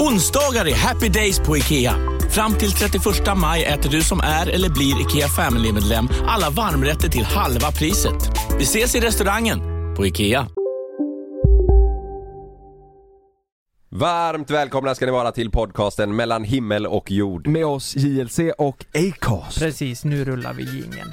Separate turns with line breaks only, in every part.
Onsdagar är happy days på IKEA. Fram till 31 maj äter du som är eller blir IKEA Family-medlem alla varmrätter till halva priset. Vi ses i restaurangen på IKEA.
Varmt välkomna ska ni vara till podcasten mellan himmel och jord.
med oss JLC och Acast.
Precis, nu rullar vi jingeln.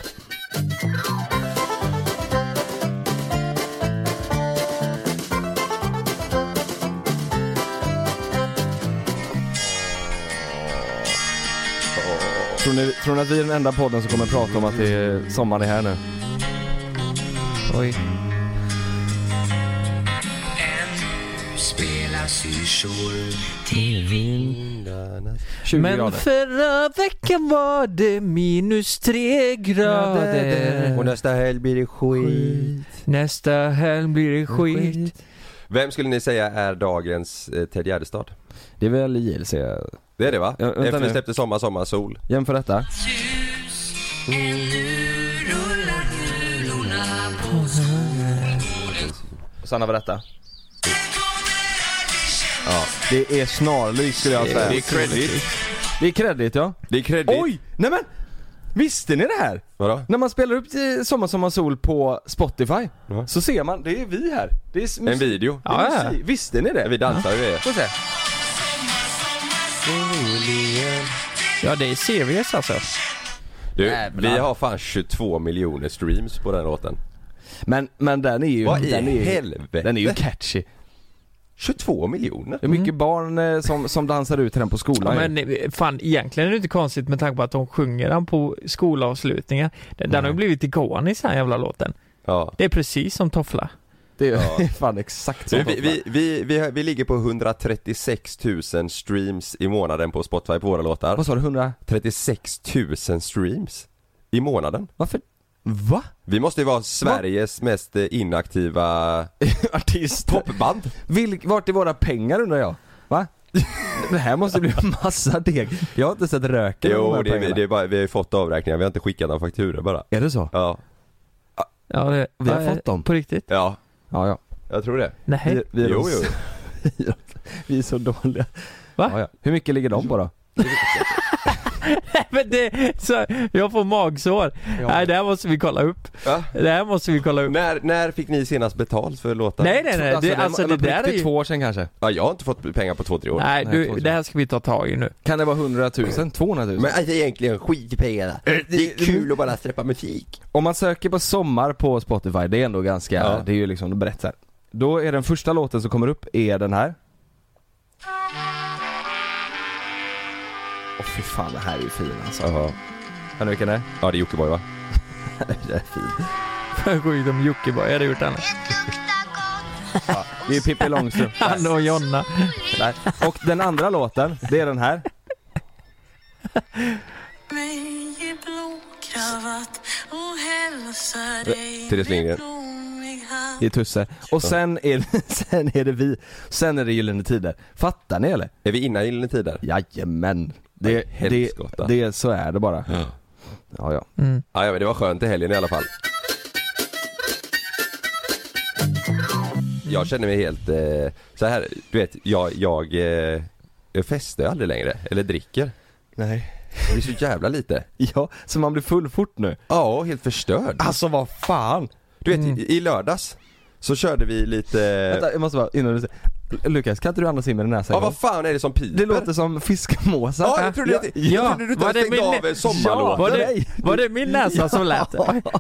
Tror ni, tror ni att vi är den enda podden som kommer prata om att det är sommaren är här nu?
Oj. Men
20 grader.
förra veckan var det minus tre grader.
Och nästa helg blir det skit.
Nästa helg blir det skit.
Vem skulle ni säga är dagens eh, Ted Gärdestad?
Det är väl JLC?
Det är det va?
Ja, vänta
Efter vi
nu.
släppte Sommar, Sommar, Sol.
Jämför detta. Sanna berätta. Ja, det är snarlikt skulle jag säga.
credit.
Det är kredit ja.
Det är credit.
Oj! Nej men! Visste ni det här?
Vadå?
När man spelar upp eh, Sommar Sommar Sol på Spotify
Ja.
så ser man, det är vi här. Det är s-
En video.
det är musik. Visste ni det?
Vi dansar ju det.
Får se.
Ja, det är serious alltså.
Du, vi har fan 22 miljoner streams på den låten.
Men, men den är ju...
Vad i
den är, ju-
helvete?
Den är ju catchy.
22 miljoner?
Det är mycket barn eh, som, som dansar ut till den på skolan ju.
Mm. Men eh, fan, egentligen är det inte konstigt med tanke på att de sjunger den på skolavslutningar. Den, den har ju blivit ikonisk den här jävla låten.
Ja.
Det är precis som Toffla.
Det är fan exakt så.
Du, vi, vi, vi, vi, vi ligger på 136 000 streams i månaden på Spotify på våra låtar.
Vad sa du? 100?
36 000 streams i månaden.
Varför? Va?
Vi måste ju vara Sveriges mest eh, inaktiva
Artist?
popband.
Vilk, vart är våra pengar undrar jag? Va? Det här måste bli en massa deg. Jag har inte sett röken av de
Jo,
här
det, är-
pengarna.
det är bara, vi har ju fått avräkningar, vi har inte skickat några fakturor bara.
Är det så?
Ja,
Ja, det,
Vi har
ja,
fått dem.
På riktigt?
ja,
Ja, ja.
jag tror det.
Nej.
Vi, vi, är
Jo,
de-
jo.
vi är så dåliga.
Va?
Ja, ja. Hur mycket ligger de på då?
Men det, så, jag får magsår. Nej, det här måste vi kolla upp.
Ja.
Det här måste vi kolla upp.
När, när fick ni senast betalt för låtar?
Nej, nej, nej. Det,
den-
alltså, det
men på
där är
riktigt
ju...
två år sedan kanske.
Ja, jag har inte fått pengar på två, tre år.
Nej,
Nej,
du,
två
det här ska vi ta tag i nu.
Kan det vara 100 000? 200 000?
Men alltså, egentligen skit i
Eh,
pengarna. Det är kul att bara släppa musik.
Om man söker på sommar på Spotify, det är ändå ganska,
Ja.
det är ju liksom brett så här. Då är den första låten som kommer upp, är den här. Åh fy fan, den här är ju fin alltså.
Jaha.
Hör ni vilken det är?
Ja, det är Jockiboi va?
Den är fin.
Sjukt om Jockiboi hade gjort annat.
Det är Pippi Långstrump.
Han och Jonna.
Där. Och den andra låten, det är den här.
Therese Lindgren.
Det är Tusse. Och sen är, sen är det vi. Sen är det Gyllene Tider. Fattar ni eller?
Är vi innan Gyllene Tider?
Jajamän.
Nej,
Det, det,
helskotta.
det, så är det bara.
Ja.
Ja, ja.
Ja, ja, men det var skönt i helgen i alla fall. Jag känner mig helt, eh, så här, du vet, jag, jag, eh, jag festar aldrig längre, eller dricker.
Nej.
Det är så jävla lite.
Ja, så man blir full fort nu.
Ja, helt förstörd.
Alltså vad fan! Mm.
Du vet, i- i lördags så körde vi lite...
Vänta, jag måste bara, innan du säger. Lukas, kan inte du andas in med din näsa
Ja,
en gång?
vad fan är det som piper?
Det låter som fiskmåsar.
Ja, jag trodde, jag, jag trodde du inte ens stängde av eh,
ja, var,
sommarlåten.
det, var det min näsa som lät?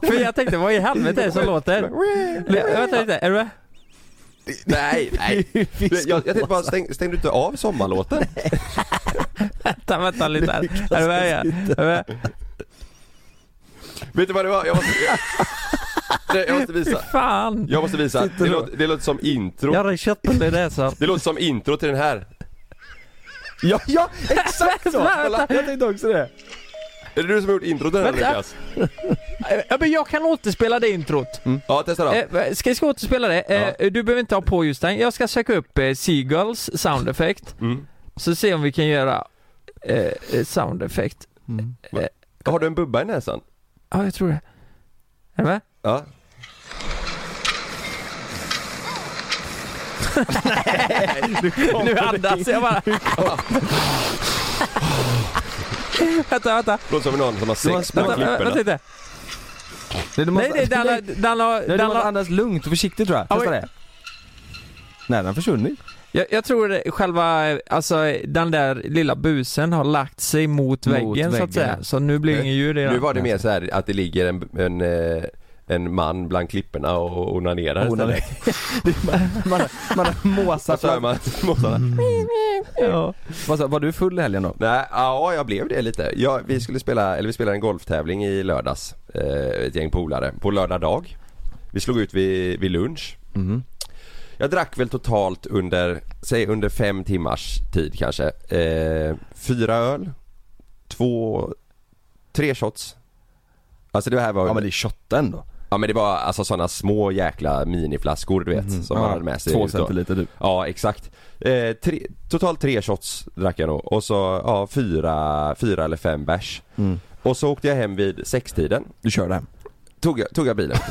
För jag tänkte, vad i helvete är det som låter? Vänta lite, är du med?
Nej, nej. Jag, jag tänkte bara, stäng, stängde du inte av sommarlåten?
Vänta, vänta lite här. Är du med igen? Är du med?
Vet du vad det var? Jag måste, nej, jag måste visa.
Fan!
Jag måste visa.
Sitter
Det
du-
låter, det låter som intro.
Jag hade köttbullar i näsan.
Det låter som intro till den här.
Ja, ja exakt så!
Vänta.
Jag tänkte också det.
Är det du som har gjort intro till den här
Vänta.
Lukas?
Ja, men jag kan återspela det introt.
Ja, testa då.
Mm. Eh, ska jag ska återspela det? Eh, Du behöver inte ha på just den. Jag ska söka upp eh, Seagulls sound effect.
Mm.
Så se om vi kan göra eh, eh, sound effect.
Har du en bubba i näsan?
Ja, jag tror det. Är du med?
Ja.
Nu andas jag bara. vänta, vänta.
Låter som någon som har sex på
Vänta, vänta,
klipporna.
vänta lite.
Nej, du måste,
Nej, nej, den har... Den har,
nej, du
den
måste
har
andas lugnt och försiktigt tror jag.
Ja,
Testa
men-
det. Nej, den har försvunnit.
jag, jag tror det- själva, eh, alltså den där lilla busen har lagt sig mot,
Mot
väggen, så att
väggen.
säga. Så nu blir det ingen ljud i
Nu
den.
var det
Alltså.
mer så här att det ligger en, en, eh, en man bland klipporna och onanerar
Hon har-
istället.
Det- man- Man har- man har
Och
måsat Mm.
så hör
fram.
man måsarna.
Ja. Vad sa- Var du full i helgen då?
Nej, ja jag blev det lite. Ja, vi skulle spela, eller vi spelade en golftävling i lördags, eh, ett gäng polare, på lördag dag. Vi slog ut vid, vid lunch.
Mm-hmm.
Jag drack väl totalt under, säg under fem timmars tid kanske, eh, fyra öl, två, tre shots. Alltså det här var,
Ja men det är shotten då.
var alltså sådana små jäkla miniflaskor du vet, som man
Mhm. ja,
hade med sig
Två
ut då.
centiliter typ.
Ja, exakt. Eh, tre, totalt tre shots drack jag då och så ja, fyra, fyra eller fem bärs.
Mm.
Och så åkte jag hem vid sextiden.
Du kör den.
Tog jag, tog jag bilen.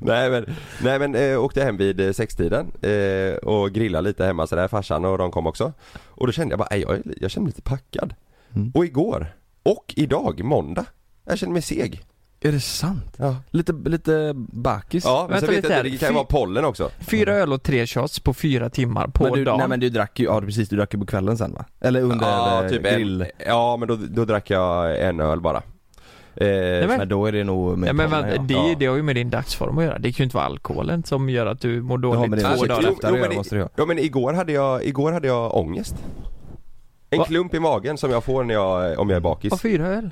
nej men, nej, men eh, åkte jag hem vid eh, sextiden eh, och grillade lite hemma sådär, farsan och de kom också. Och då kände jag bara, "Ej, jag, är li- jag kände mig lite packad.
Mm.
Och igår, och idag, måndag, jag kände mig seg.
Är det sant?
Ja,
Lite, lite bakis?
ja men
Vänta
sen vet jag
lite
inte,
här.
det kan ju
Fy-
vara pollen också.
Fyra öl och tre shots på fyra timmar på
men du,
dagen.
nej men du drack ju, ja precis, du drack ju på kvällen sen va? Eller under
ja,
eh,
typ
grill?
en, ja men då, då drack jag en öl bara. Eh,
men-
Men då är det nog med
Ja, men
pollen,
vänta,
ja.
det, det har ju med din dagsform att göra. Det kan ju inte vara alkoholen som gör att du mår
Ja, men
dåligt
det är
två
säkert.
dagar.
Jo,
men,
det måste det göra.
ja, men igår hade jag, igår hade jag ångest. En
Va?
klump i magen som jag får när jag, om jag är bakis.
Och fyra öl.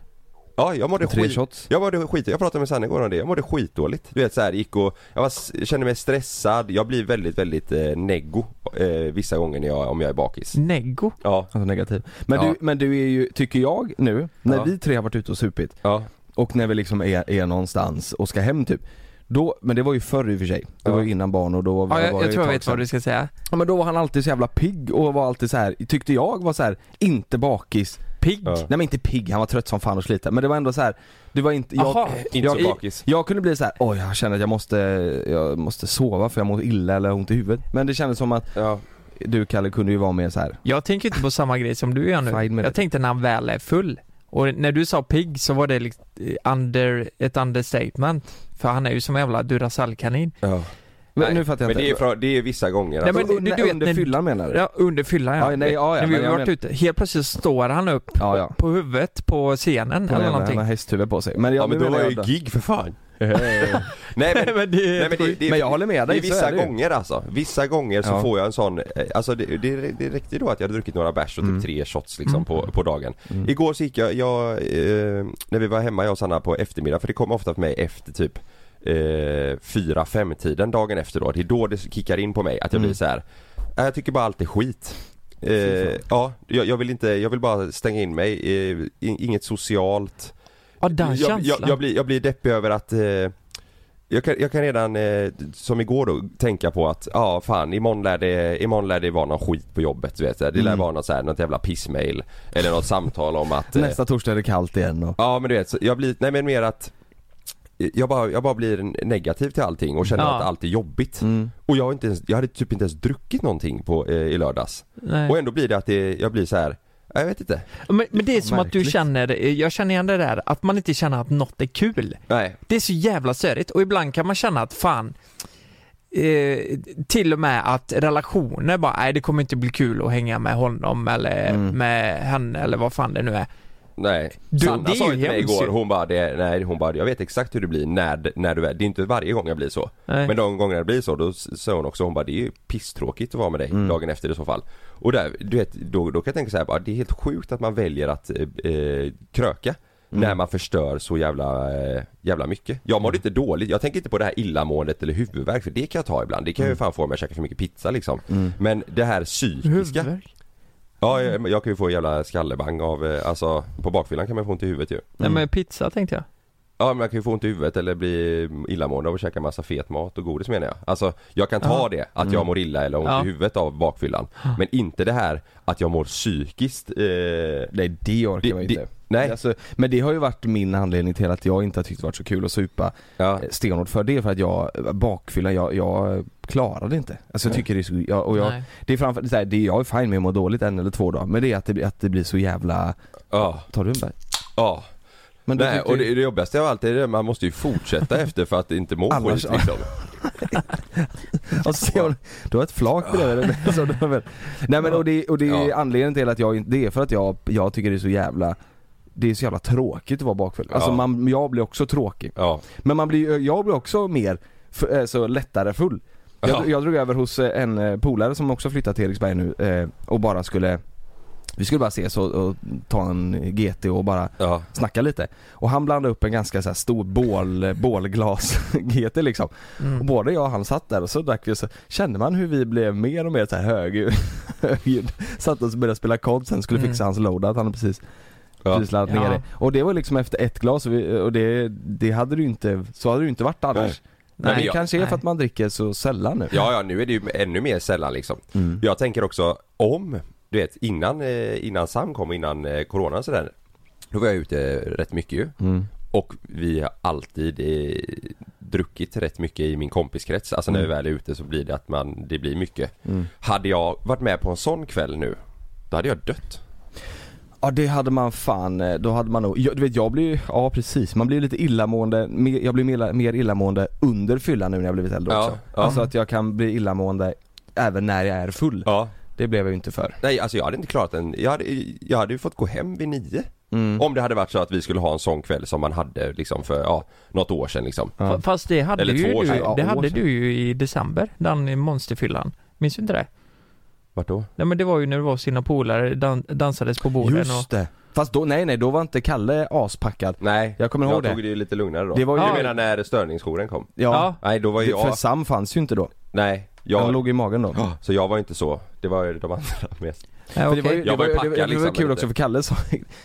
Ja, jag mådde
Tre
skit.
shots.
Jag mådde skit, jag pratade med Sanne igår om det, jag mådde skitdåligt. Du vet så här, gick och, jag var, s- kände mig stressad, jag blir väldigt väldigt eh, neggo eh, vissa gånger när jag, om jag är bakis.
Neggo.
Ja,
Alltså negativ. Men,
Ja.
du, men du är ju, tycker jag nu, när
Ja.
vi tre har varit ute och supit
ja,
och när vi liksom är, är någonstans och ska hem typ då, men det var ju förr i och för sig, det
Ja.
var ju innan barn och då var
Ja,
det
jag,
var
jag
det
tror
ett
jag
tag
vet
sedan.
vad du ska säga.
Ja men då var han alltid så jävla pigg och var alltid så här, tyckte jag var så här, inte bakis
Pigg.
Ja.
Nej men inte pigg, han var trött som fan och sliten men det var ändå så här, det var inte, jag,
Jaha.
inte så
jag-
bakis.
jag kunde bli så här, oj jag känner att jag måste, jag måste sova för jag mår illa eller har ont i huvudet Men det kändes som att
Ja.
du Kalle kunde ju vara mer så här.
Jag tänker inte på samma grej som du gör
Fine
nu.
med
Jag
det.
tänkte när han väl är full. Och när du sa pigg så var det liksom under, ett understatement. För han är ju som en jävla Duracell-kanin.
ja.
Men
Nej,
nu fattar jag
men
inte
det är, från, det är vissa gånger
Nej,
alltså.
men du- du- du vet,
under
när-
fyllan menar du?
Ja, under fyllan ja.
Ja, nej, ja, ja,
när vi
men
har
jag
varit
men-
ute. Helt plötsligt står han upp
Ja, ja.
på huvudet på scenen
Han
eller
har- han
någonting.
har hästhuvud på sig. Men, jag,
Ja men
nu
då var
menar
jag
jag
ju
då-
gig för fan. Nej men,
men det är
Nej, men, det, det,
Men jag håller med dig,
det är
så
vissa
är det ju.
gånger alltså. Vissa gånger så
Ja.
får jag en sån, eh, alltså det, det, det räckte då att jag hade druckit några bärs och typ tre shots liksom på, på dagen. Igår så gick jag, jag eh, när vi var hemma jag och Sanna på eftermiddag för det kom ofta för mig efter typ eh, fyra, fem tiden dagen efter då. Det är då det kickar in på mig att jag blir så här. "Äh, jag tycker bara allt är skit. Eh, ja, jag, jag vill inte, jag vill bara stänga in mig, eh, in, inget socialt
Ja, den
jag,
känslan.
jag, jag, blir, jag blir deppig över att eh, jag, kan, jag kan redan, eh, som igår då, tänka på att ja ah, fan imorgon lär, det, imorgon lär det vara någon skit på jobbet du vet, så här. Det lär
Mm.
vara något, så här, något jävla pissmail Eller något samtal om att eh,
Nästa torsdag är det kallt igen och...
Ja men du vet, så jag blir, nej men mer att jag bara, jag bara blir negativ till allting och känner
Ja.
att allt är jobbigt.
Mm.
Och jag, har inte ens, jag hade typ inte ens druckit någonting på, eh, i lördags.
Nej.
Och ändå blir det att det, jag blir så här. jag vet inte.
Men, men det är som att du
märkligt.
känner, eh, jag känner igen det där, att man inte känner att något är kul.
Nej.
Det är så jävla störigt och ibland kan man känna att fan, eh, till och med att relationer
Mm.
bara, nej det kommer inte bli kul att hänga med honom eller med henne eller vad fan det nu är.
Nej.
Du,
Sanna
det är
sa
ju
ju till mig
hemskt
igår,
ju.
hon bara, det, nej, hon bara jag vet exakt hur det blir när, när du är, det är inte varje gång jag blir så.
Nej.
Men de gånger det blir så, då s- sa hon också, hon bara det är ju pisstråkigt att vara med dig
Mm.
dagen efter i så fall. Och där, du vet, då, då kan jag tänka så här, bara, det är helt sjukt att man väljer att eh, eh, kröka.
Mm.
När man förstör så jävla, eh, jävla mycket. Jag mådde
Mm.
inte dåligt, jag tänker inte på det här illamåendet eller huvudvärk för det kan jag ta ibland. Det kan jag
Mm.
ju fan få om jag käkar för mycket pizza liksom. Men det här psykiska.
Huvudvärk?
Ja, eh, jag, jag kan ju få en jävla skallebang av, eh, alltså på bakfyllan kan man få ont i huvudet ju.
Nej men pizza tänkte jag.
Ja men jag kan ju få ont i huvudet eller bli illamående av att käka massa fet mat och godis menar jag. Alltså jag kan ta
Ja.
det, att
Mm.
jag mår illa eller har ont
Ja.
i huvudet av bakfyllan. Men inte det här att jag mår psykiskt, eh,
Nej det orkar
Det-
man ju
det-
inte.
nej.
Alltså, men det har ju varit min anledning till att jag inte har tyckt det varit så kul att supa
ja.
eh, stenhårt för det är för att jag, eh, bakfylla, jag, jag klarar det inte. Alltså jag tycker det är så, jag, och jag,
Nej.
det är framför, det är, det är, jag är fine med att må dåligt en eller två dagar men det är att det, att det blir så jävla,
Ja,
tar du en bär?
ja.
Men då
Nej,
tyckte
och
ju-
det, det jobbigaste av allt är det, man måste ju fortsätta efter för att inte må
Annars-
skit liksom.
Och se om- du har ett flak bredvid dig. Så du har- Nej men och det, och det är
Ja.
anledningen till att jag inte, det är för att jag, jag tycker det är så jävla det är så jävla tråkigt att vara bakfull. Alltså
Ja.
man, jag blir också tråkig.
Ja,
Men man blir, jag blir också mer, f- eh, så lättare full. Jag,
Ja.
jag drog över hos eh, en eh, polare som också flyttat till Eriksberg nu eh, och bara skulle vi skulle bara ses och, och ta en GT och bara
ja,
snacka lite. Och han blandade upp en ganska så här stor bål, bålglas GT liksom.
Mm.
Och både jag och han satt där och så drack vi och så kände man hur vi blev mer och mer så här hög, högljudd. Satt oss och började spela kod sen skulle fixa hans loadout, han hade precis
ja.
precis laddat ner
Mm. Ja.
det. Och det var liksom efter ett glas och, vi, och det, det hade du inte, så hade du inte varit annars.
Nej.
Men
Nej,
det
jag-
kanske är för
nej.
att man dricker så sällan nu.
Ja, ja, nu är det ju ännu mer sällan liksom.
Mm.
Jag tänker också om, du vet innan, eh, innan Sam kom, innan eh, coronan sådär. Då var jag ute eh, rätt mycket ju.
Mm.
Och vi har alltid eh, druckit rätt mycket i min kompiskrets. Alltså när vi
Mm.
väl är ute så blir det att man, det blir mycket. Hade jag varit med på en sån kväll nu, då hade jag dött.
Ja det hade man fan, eh, då hade man nog, jag, du vet jag blir ju, ja precis, man blir lite illamående, mer- jag blir mer, mer illamående under fyllan nu när jag blivit äldre
Ja,
också.
ja.
Alltså att jag kan bli illamående även när jag är full.
Ja.
Det blev jag ju inte för.
Nej, alltså jag hade inte klarat en, jag hade, jag hade ju fått gå hem vid nio. Om det hade varit så att vi skulle ha en sån kväll Mm. som man hade liksom för, ja, något år sedan liksom.
Fa- Fast det hade,
Eller
ju
två år
du,
sedan.
Ja,
det
år
hade
sedan.
du ju i december, den monsterfyllan. Minns du inte det?
Vart då?
Nej men det var ju när du var hos dina polare, dan- dansades på borden och...
Just det. Fast då, nej nej, då var inte Kalle aspackad.
Nej,
Jag kommer ihåg
jag
det.
tog det ju lite lugnare då.
Det var ju-
Du menar när störningsjouren kom?
Ja.
Nej, då var ju
Det, för
jag,
Sam fanns ju inte då.
nej,
Han
jag,
låg i magen då.
Ja, så jag var inte så. Det var ju de andra mest.
Ja,
För det var
okej.
ju, det
Jag var
var,
ju
ju- det,
packad
det, var
liksom,
ju kul
lite.
också för Kalle sa,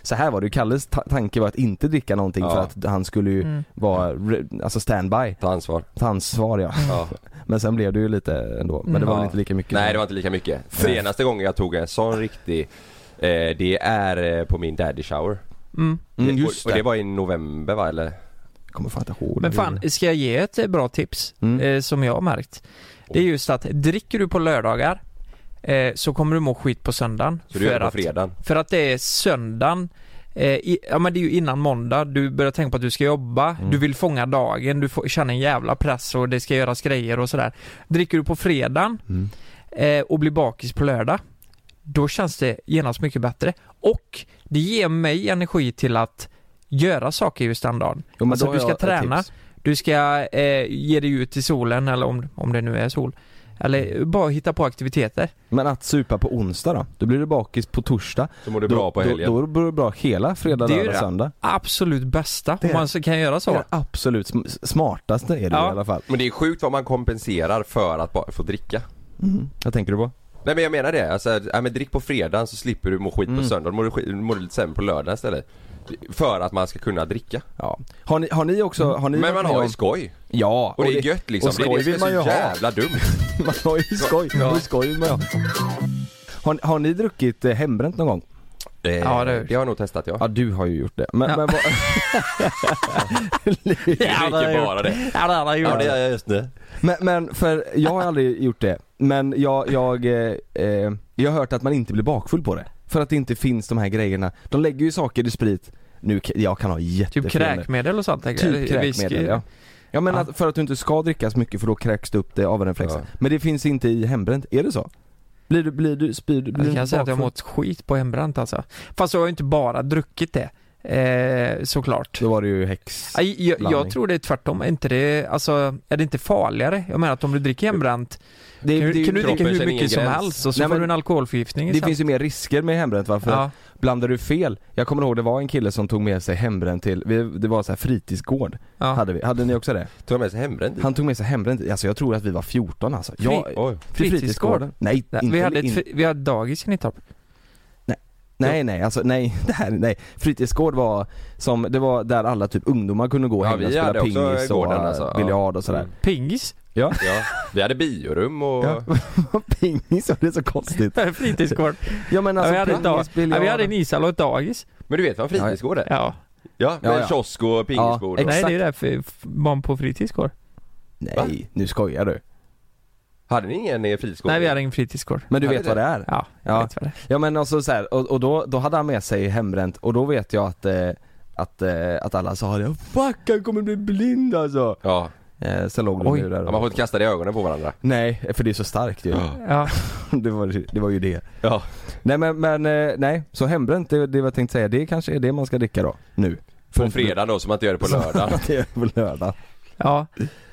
så här var det ju, Kalles ta- tanke var att inte dricka någonting
Ja.
för att han skulle ju
Mm.
vara, re- alltså standby,
Ta ansvar.
ta ansvar ja.
Ja.
Men sen blev det ju lite ändå, men
Mm.
det var
Ja.
väl inte lika mycket.
Nej, det var inte lika mycket. Senaste gången jag tog en sån riktig, eh, det är eh, på min daddy shower.
Mm.
mm,
Det-
just
och, och det
det.
var i november va, eller?
Jag kommer fan inte ihåg.
Men fan, ska jag ge ett eh, bra tips
Mm.
eh, som jag har märkt? Det är just att dricker du på lördagar eh, så kommer du må skit på söndagen.
Så du gör det på
att,
fredagen?
för att det är söndagen eh, i, ja men det är ju innan måndag, du börjar tänka på att du ska jobba,
Mm.
du vill fånga dagen, du får, känner en jävla press och det ska göras grejer och sådär. Dricker du på fredagen
Mm.
eh, och blir bakis på lördag, då känns det genast mycket bättre. Och det ger mig energi till att göra saker just den dagen.
Jo, men
alltså
då
du
har
ska
jag ett
träna,
tips.
du ska eh, ge dig ut i solen eller om, om det nu är sol. Eller bara hitta på aktiviteter.
Men att supa på onsdag då? Då blir du bakis på torsdag.
Så mår du
då,
bra på helgen?
Då, då blir du bra hela fredag,
Det är ju
lördag,
det.
söndag.
Absolut bästa
Det
om
är-
man så kan göra
Det är
så.
det absolut sm- smartaste är det
Ja.
i alla fall.
Men det är sjukt vad man kompenserar för att bara få dricka.
Vad tänker du på?
Nej men jag menar det, alltså, ja, men drick på fredagen så slipper du må skit
Mm.
på söndagen, mår du, skit- mår du lite sämre på lördagen istället. För att man ska kunna dricka.
Ja. Har ni, har ni också,
Mm.
har ni
Men
varit
man
med
har
om-
ju skoj.
Ja.
Och det är gött liksom.
Och skoj
det är
vill
det som
man
är
ju
så
ha.
jävla dumt.
Man har ju skoj, man har ju skoj med ja. har, har ni druckit eh, hembränt någon gång?
Eh,
Ja, det har jag
det,
gjort.
har jag nog testat ja.
Ja du har ju gjort det. Men,
Ja.
men vad...
Ja, det har jag gjort.
det.
Ja, det har jag gjort.
jag just nu.
men, men för jag har aldrig gjort det. Men jag, jag, eh, eh, jag har hört att man inte blir bakfull på det. För att det inte finns de här grejerna. De lägger ju saker i sprit. Nu, k- jag kan ha jättefel
Typ
nu.
kräkmedel och sånt tänker jag.
Typ
Whisky.
kräkmedel ja. Ja men
Ja.
Att, för att du inte ska dricka så mycket för då kräks det upp det av en reflex.
Ja.
Men det finns inte i hembränt, är det så? Blir du, blir du, spyr du, blir
Jag
du
kan
inte
säga att jag har
bakfull?
mått skit på hembränt alltså. Fast jag har ju inte bara druckit det, eh, såklart.
Då var det ju häx...
Aj, Jag, jag
blandning.
tror det är tvärtom, är inte det, alltså, är det inte farligare? Jag menar att om du dricker hembränt,
Det,
kan, du-
det,
kan du
det,
dricka
kroppen
hur
känner ingen
mycket som
gräns.
helst och så
Nej,
får
men-
du en alkoholförgiftning
det
sen.
finns ju mer risker med hembränt va? För
ja.
blandar du fel, jag kommer ihåg det var en kille som tog med sig hembränt till, vi, det var så här fritidsgård,
Ja.
hade vi, hade ni också det?
Tog jag med sig hembränt dit?
Han tog med sig hembränt, alltså jag tror att vi var 14 alltså.
Fri-
Jag,
Oj.
till fritidsgården? Nej,
Nej,
inte,
vi, hade ett,
in,
fri- vi hade dagis i Nittorp.
nej, nej, alltså nej, det här, nej. Fritidsgård var som, det var där alla typ ungdomar kunde gå och
Ja,
hänga och
vi
spela
hade också
pingis och
gården, alltså, ja.
biljard och sådär.
Pingis?
Ja. Vi hade biorum och...
Ja. pingis, det är så konstigt.
Fritidsgård.
typ. Ja men
ja,
alltså,
vi, hade ett dag-
pingis,
ja,
biljard.
vi hade en ishall och ett dagis.
Men du vet vad en fritidsgård är?
Ja.
Ja, med
Ja, ja.
kiosk och pingisbord
Ja,
och...
Nej
exakt.
det är därför f- barn på fritidsgård.
Va?
Nej, nu skojar du.
Hade ni ingen eh, fritidsgård?
Nej vi hade ingen fritidsgård.
Men du
Hade
vet
det?
vad det är?
Ja,
Ja.
ja. Vet vad det.
Ja men alltså så här, och, och då, då hade han med sig hembränt och då vet jag att eh, att, eh, att alla sa det 'Fuck han kommer bli blind alltså'
Ja,
eh, Sen låg
Oj.
du där
Ja, man får inte kasta det i ögonen på varandra.
Nej, för det är så starkt ju
Ja.
är. Ja.
det, var, det var ju det
Ja.
Nej men, men eh, nej, så hembränt det, det var jag tänkte säga, det kanske är det man ska dricka då, nu
På fredag då, så man inte gör det på lördag.
Det är på lördag
ja.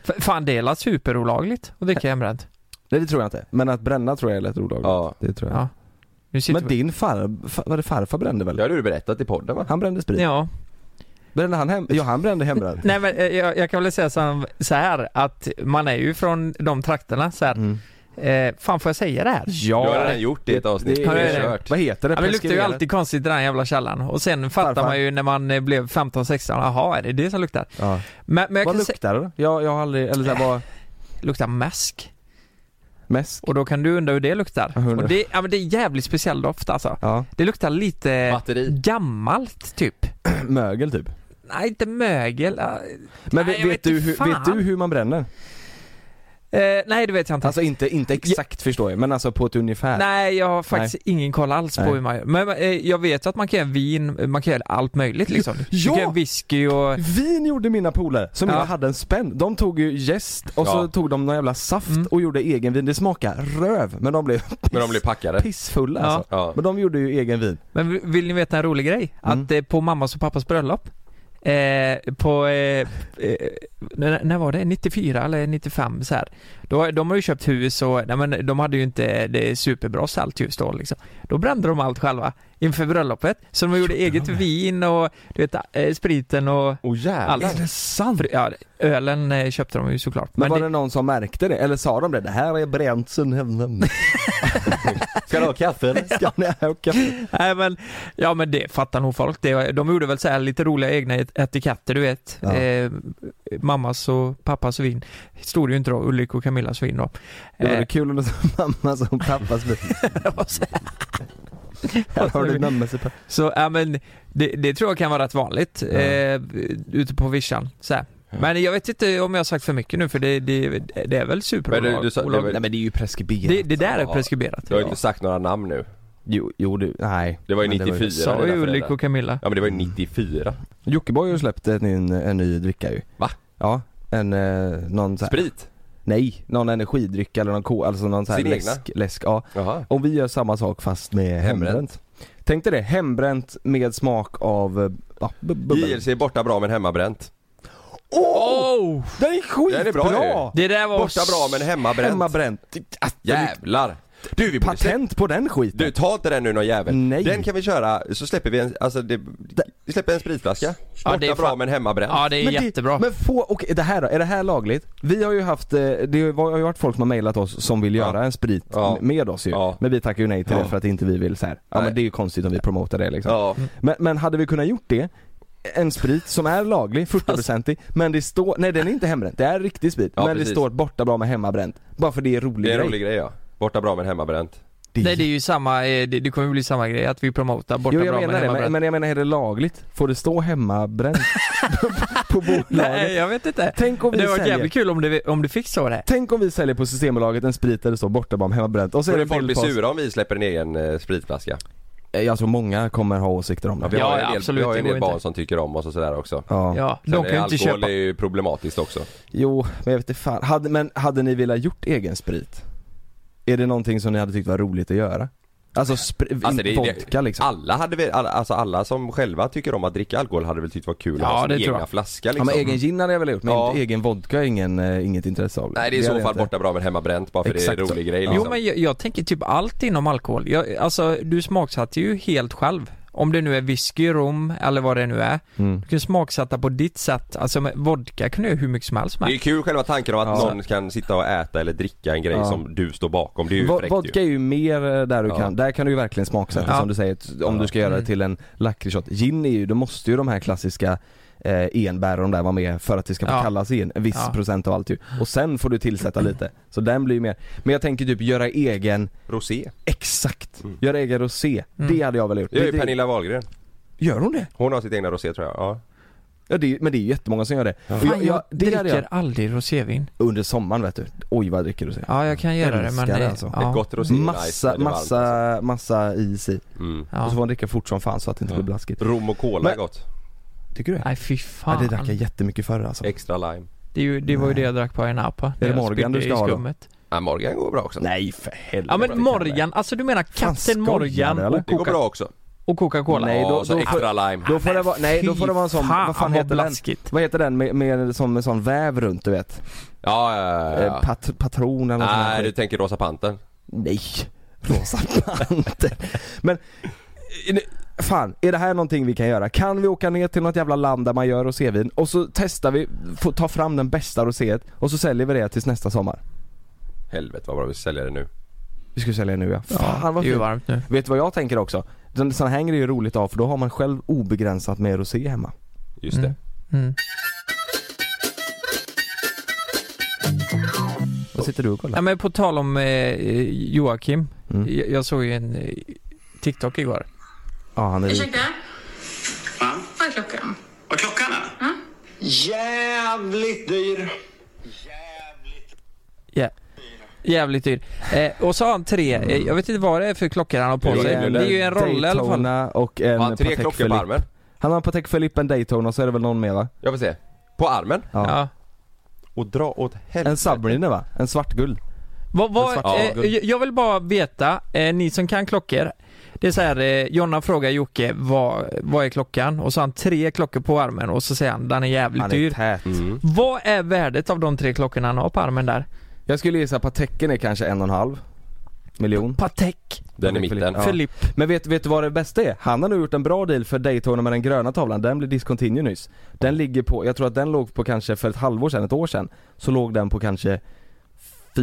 F- Fan det är la superolagligt att dricka hembränt.
Nej det tror jag inte, men att bränna tror jag är lätt olagligt
Ja.
Det tror jag
Ja. Nu sitter
Men
vi-
din far, far, var det farfar brände väl?
Det har du berättat i podden va?
Han brände sprit?
Ja.
Brände han hem, ja han brände hembränt
Nej men eh, jag, jag kan väl säga så här- så här att man är ju från de trakterna så här.
Mm.
Eh, fan får jag säga det här?
Ja!
Du har redan gjort det i ett avsnitt.
Det-
Ja, det är
Det
det.
är kört.
Vad heter det?
Ja, men det luktar ju
Preskriberat.
alltid konstigt i den här jävla källan och sen fattar
Farfar.
man ju när man eh, blev 15-16, jaha är det det som luktar?
Ja.
Men, men jag
Vad
kan säga,
luktar det då? Jag, jag har aldrig, eller såhär vad,
luktar mäsk
mest?
och då kan du undra hur det
Jag
luktar.
undrar.
Och det, ja, men det är jävligt speciell doft alltså.
Ja,
Det luktar lite
Batteri.
gammalt typ.
mögel typ.
Nej inte mögel. eh,
Men
Nej,
vet,
jag
vet,
vet
du,
inte
hur,
fan.
vet du hur man bränner?
Eh, nej det vet jag inte.
Alltså inte, inte exakt förstår jag, men alltså på ett ungefär.
Nej jag har faktiskt ingen koll alls på
Nej.
hur man gör. Men eh, jag vet att man kan göra vin, man kan göra allt möjligt liksom.
Ja!
Du kan göra whisky och...
Vin gjorde mina polare som
Ja.
jag hade en spänn. De tog ju jäst och så
Ja.
tog de någon jävla saft
Mm.
och gjorde egen vin. Det smakar röv men de blev piss,
Men de blir packade.
pissfulla
Ja.
alltså.
Ja.
Men de gjorde ju egen vin.
Men vill- vill ni veta en rolig grej?
Mm.
Att eh, på mammas och pappas bröllop Eh, på, eh, eh, när, när var det? 94 eller 95 så här. Då, de har ju köpt hus och, nej men de hade ju inte det superbra sällt hus då liksom. Då brände de allt själva inför bröllopet. Så de gjorde eget vin och du vet, eh, spriten och
Åh oh, jävlar.
allt. Är det sant? Ja, ölen eh, köpte de ju såklart.
Men, var det... någon som märkte det? Eller sa de det? Det här är bränt sen hemma. Ska du ha kaffe eller? Ska ni ha kaffe?
Nej men, ja men det fattar nog folk. Det, de gjorde väl så här lite roliga egna et- etiketter du vet.
Ja.
Eh, mammas och pappas vin. Stod det ju inte då, Ulrik och Camillas vin då.
Det var
Eh,
det kul om det var mamma som pappas vin.
det var så,
Här har du mammas pappa.
så ja men det, det tror jag kan vara rätt vanligt
Ja.
eh, ute på vischan. Så här. Men jag vet inte om jag har sagt för mycket nu för det, det, det är väl
Men du, du
superolagligt.
sa, det, var,
men det är ju preskriberat.
Det, det där är
Ja.
preskriberat.
du har ju inte sagt några namn nu.
Jo, jo du, nej.
Det var ju
Men
94.
Sa ju
dina
Ulrik
föräldrar.
och Camilla.
Ja men det var ju 94.
Jockiboi har ju släppt en, en, en ny dricka ju.
Va?
Ja. En, eh, någon så här,
Sprit?
Nej, någon energidryck eller någon ko, alltså någon så här
Sin egna?
läsk, läsk, ja.
Jaha.
Om vi gör samma sak fast med
Hembränt.
hembränt. Tänk dig det, hembränt med smak av, eh, ja, bu- bubbel.
JLC är borta bra men hemmabränt.
Oh!
Den är skitbra!
Den är bra ju.
Det där var
Borta bra men hemmabränt.
Hemmabränt. Ah,
Jävlar. Du vi borde se-
Patent på den skiten.
Du ta inte den nu någon jävel.
Nej.
Den kan vi köra, så släpper vi en, alltså det, vi släpper en spritflaska. Borta
Ja, det är
bra
fan-
men hemmabränt.
Ja det är
det-
jättebra.
Men få, okej det här då, är det här lagligt? Vi har ju haft, eh, det var- har ju varit folk som har mejlat oss som vill göra
Ja.
en sprit
Ja.
m- med oss ju.
Ja.
Men vi tackar ju nej till det för att inte vi vill så här. ja
Nej.
men det är ju konstigt om vi promotar det liksom.
Ja.
Men, men hade vi kunnat gjort det, en sprit som är laglig, 40-procentig, men det står, nej den är inte hembränt, det är riktig sprit,
Ja,
men det
precis.
står borta bra med hemmabränt. Bara för det är rolig
Det är en
grej.
rolig grej ja. Borta bra men hemmabränt.
Det är-
Nej det är ju samma, eh, det, det kommer ju bli samma grej att vi promotar borta
Jo jag
bra
menar det, men,
hemmabränt.
men jag menar är det lagligt? Får det stå hemmabränt på
Nej
bolaget?
jag vet inte.
Tänk om vi
Det var
säljer
jävligt kul om det, om det fick så det.
Tänk om vi säljer på Systembolaget en sprit där det står bortabam hemmabränt och så är
Men
det
det folk
bild
blir
på oss.
sura om vi släpper en egen eh, spritflaska.
Eh, Jag tror många kommer ha åsikter om det.
Vi
Ja,
har ju
ja,
en del,
absolut,
vi har
det
ju en
går
del
inte.
barn som tycker om oss och sådär också.
Ja.
Ja,
Sen
de kan ju inte
alkohol
köpa.
är ju problematiskt också.
Jo, men jag vet inte fan. Hade, men hade ni velat gjort egen sprit? Är det någonting som ni hade tyckt var roligt att göra? Alltså, spr-
Alltså, det- det-
vodka liksom?
Alla hade väl, alla, alltså alla som själva tycker om att dricka alkohol hade väl tyckt var kul att
Ja,
ha
det
sin
tror
egna
jag.
flaska
Ja
liksom.
men egen gin hade jag väl gjort, men
Ja.
inte egen vodka är ingen, eh, inget intresse av.
Nej det är i
hade
så
jag
fall
inte.
borta bra men hemmabränt bara för
Exakt
det är
så.
en rolig grej
Ja.
liksom.
Jo men jag, jag tänker typ allt inom alkohol. Jag, alltså du smaksatte ju helt själv. Om det nu är whisky, rom eller vad det nu är.
Mm.
Du kan smaksätta på ditt sätt. Alltså med vodka kan du göra hur mycket som helst
Det är ju
med.
kul själva tanken om att
Ja.
någon kan sitta och äta eller dricka en grej
Ja.
som du står bakom. Det är ju
Vo-
fräckt
vodka
ju.
är ju mer eh, där du
Ja.
kan, där kan du ju verkligen smaksätta
Ja.
som du säger, t- om du ska göra det
Mm.
till en lakritsshot. Gin är ju, då måste ju de här klassiska eh, enbär och de där vara med för att det ska få
Ja.
kallas in, en viss
Ja.
procent av allt ju. Och sen får du tillsätta lite, så den blir ju mer. Men jag tänker typ göra egen,
Rosé. Mm.
exakt, göra egen rosé. Det hade jag väl gjort.
Det är ju
Det- det-
Pernilla Wahlgren.
Gör hon det?
Hon har sitt egna rosé tror jag. Ja.
Ja, det, är ju- men det är ju jättemånga som gör det. Och
Fan, jag,
det hade
dricker aldrig rosévin.
Under sommaren vet du, oj vad jag dricker rosé.
Ja jag kan göra det men...
Älskar det,
eh,
alltså.
ja.
Ett gott rosé är nice
Massa,
när det är varmt, alltså.
massa, massa is i.
Mm.
Och
Ja.
så får man dricka fort som fan så att det inte blir blaskigt.
Rom och cola är
Men-
gott.
Tycker du det?
Nej fy
Ja,
fan.
det drack jag jättemycket förr alltså.
Extra lime.
Det, är ju, det var ju det jag drack på en app. när
det
jag
Morgan
spydde
du
i
ska ha då?
skummet.
Ja, Morgan går bra också.
Nej för helvete.
Ja men
Det kan
Morgan, alltså du menar kapten
skojar
Morgan
du, eller?
och,
Det går
Coca-
bra också.
och Coca-Cola?
Nej, då-
ja, så
då-
extra lime.
jag. Då får det vara, nej då får det vara en sån,
Fy
vad fan heter den?
blaskigt.
Vad heter den med, med, som, med sån väv runt du vet?
Ja, ja, ja,
Eh,
ja.
Pat, patron eller något sånt
Nej,
där.
du tänker Rosa Pantern.
Nej! Rosa panter. Men, är det- fan, är det här någonting vi kan göra? Kan vi åka ner till något jävla land där man gör rosévin och så testar vi, får ta fram den bästa roséet och så säljer vi det tills nästa sommar?
Helvete vad bra vi säljer det nu.
Vi ska sälja det nu ja. Fan
Det
vad
är ju
fint.
varmt nu.
Vet du vad jag tänker också? Den- Sån här är ju roligt av för då har man själv obegränsat med rosé hemma.
Just det.
Mm.
Vad sitter du och kollar?
Ja, men på tal om eh, Joakim.
Mm.
Jag, jag såg ju en eh, TikTok igår.
Ja, han är
Ursäkta? Vad är klockan?
Vad klockan är? Jävligt dyr.
Ja. Jävligt dyr. Eh, och så har han tre,
Mm.
eh, jag vet inte vad det är för klockor han har på sig.
en
Det är ju en roll i alla fall.
Daytona och en
Har han tre
Patek
klockor på
Philippe.
armen?
Han har en Patek Philippe, en Daytona och så är det väl någon mer va?
Jag vill se. På armen?
Ja.
Och dra åt helvete.
En Submariner va? En svartguld.
Vad, vad,
En svart-
eh, jag- jag vill bara veta, eh, ni som kan klockor. Det är så här, eh, Jonna frågar Jocke vad, vad är klockan? Och så har han tre klockor på armen och så säger han den är jävligt
Han är
dyr.
tät.
Mm.
Vad är värdet av de tre klockorna han har på armen där?
Jag skulle gissa att Pateken är kanske en och en halv miljon.
Patek,
Den i
Patek
mitten.
Philippe, Ja.
Philippe.
Men vet, vet du vad det bästa är? Han har nu gjort en bra deal för Daytona med den gröna tavlan, den blir discontinue nyss. Den ligger på, jag tror att den låg på kanske för ett halvår sedan, ett år sedan, så låg den på kanske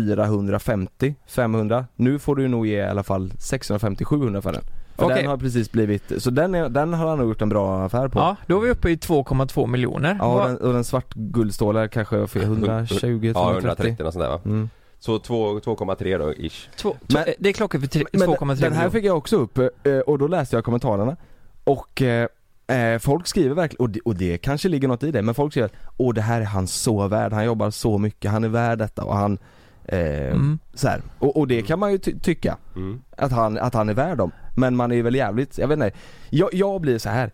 450, 500. Nu får du nog ge i alla fall 650-700 för den. För
Okej.
den har precis blivit, så den, är, den har han nog gjort en bra affär på.
Ja, då är vi uppe i 2,2 miljoner.
Ja,
Vad-
och den, och den svartguldstålar kanske för 120,
Ja,
130.
130 något sånt där va?
Mm.
Så två- 2,3 då ish.
två, två,
Men-
det är klockor för tre-
Men
2,3 miljoner.
den här fick jag också upp eh, och då läste jag kommentarerna och eh, eh, folk skriver verkligen, och det, och det kanske ligger något i det, men folk skriver att åh det här är han så värd, han jobbar så mycket, han är värd detta och han eh,
Mm.
så här. Och, och det kan man ju ty- tycka
Mm.
att han, att han är värd dem, men man är väl jävligt, jag vet inte, jag, jag blir så här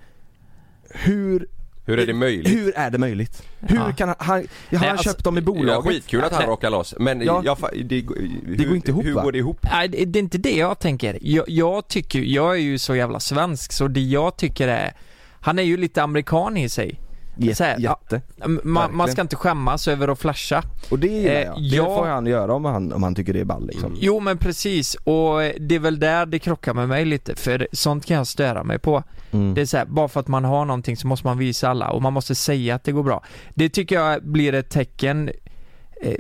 hur,
Hur är det möjligt?
hur är det möjligt? Hur
Ja.
kan han, han, han har
alltså,
köpt dem i
Ja,
bolaget?
skitkul att han
Nej.
rockar loss men
Ja.
jag, fa- det, hur,
Det går inte ihop,
Hur
va?
går det ihop?
Nej, det det är inte det jag tänker. Jag, jag tycker, jag är ju så jävla svensk så det jag tycker är, han är ju lite amerikan i sig.
Jä-
så här, ja.
jätte.
Man, man
Verkligen.
ska inte skämmas över att flasha.
Och det gillar
Eh,
jag. Det
ja. Mm.
får han göra om han, om han tycker det är ball liksom.
Jo men precis, och eh, det är väl där det krockar med mig lite för sånt kan jag störa mig på.
Mm.
Det är så här, bara för att man har någonting så måste man visa alla och man måste säga att det går bra. Det tycker jag blir ett tecken eh,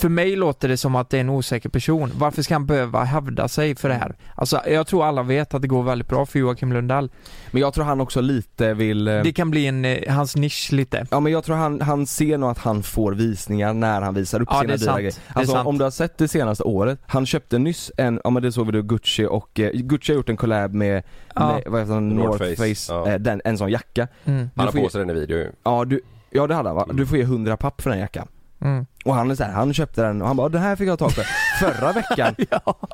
för mig låter det som att det är en osäker person. Varför ska han behöva hävda sig för det här? Alltså jag tror alla vet att det går väldigt bra för Joakim Lundell.
Men jag tror han också lite vill eh,
Det kan bli en, eh, hans nisch lite.
Ja men jag tror han, han ser nog att han får visningar när han visar upp
Ja, det
sina
är
dyra
sant.
grejer.
Det är
Alltså
sant.
om du har sett det senaste året, han köpte nyss en, ja men det såg vi då Gucci och, eh, Gucci har gjort en collab med,
Ja.
med vad heter den,
North
North
Face.
Face,
Ja.
eh, den, en sån jacka.
Mm.
Han
Du
har
får
på
ge,
sig den i video ju.
ja du, ja det hade han va?
Mm.
Du får ge 100 papp för den jackan.
Mm.
Och han är så här, han köpte den och han bara det här fick jag tag på Förra veckan,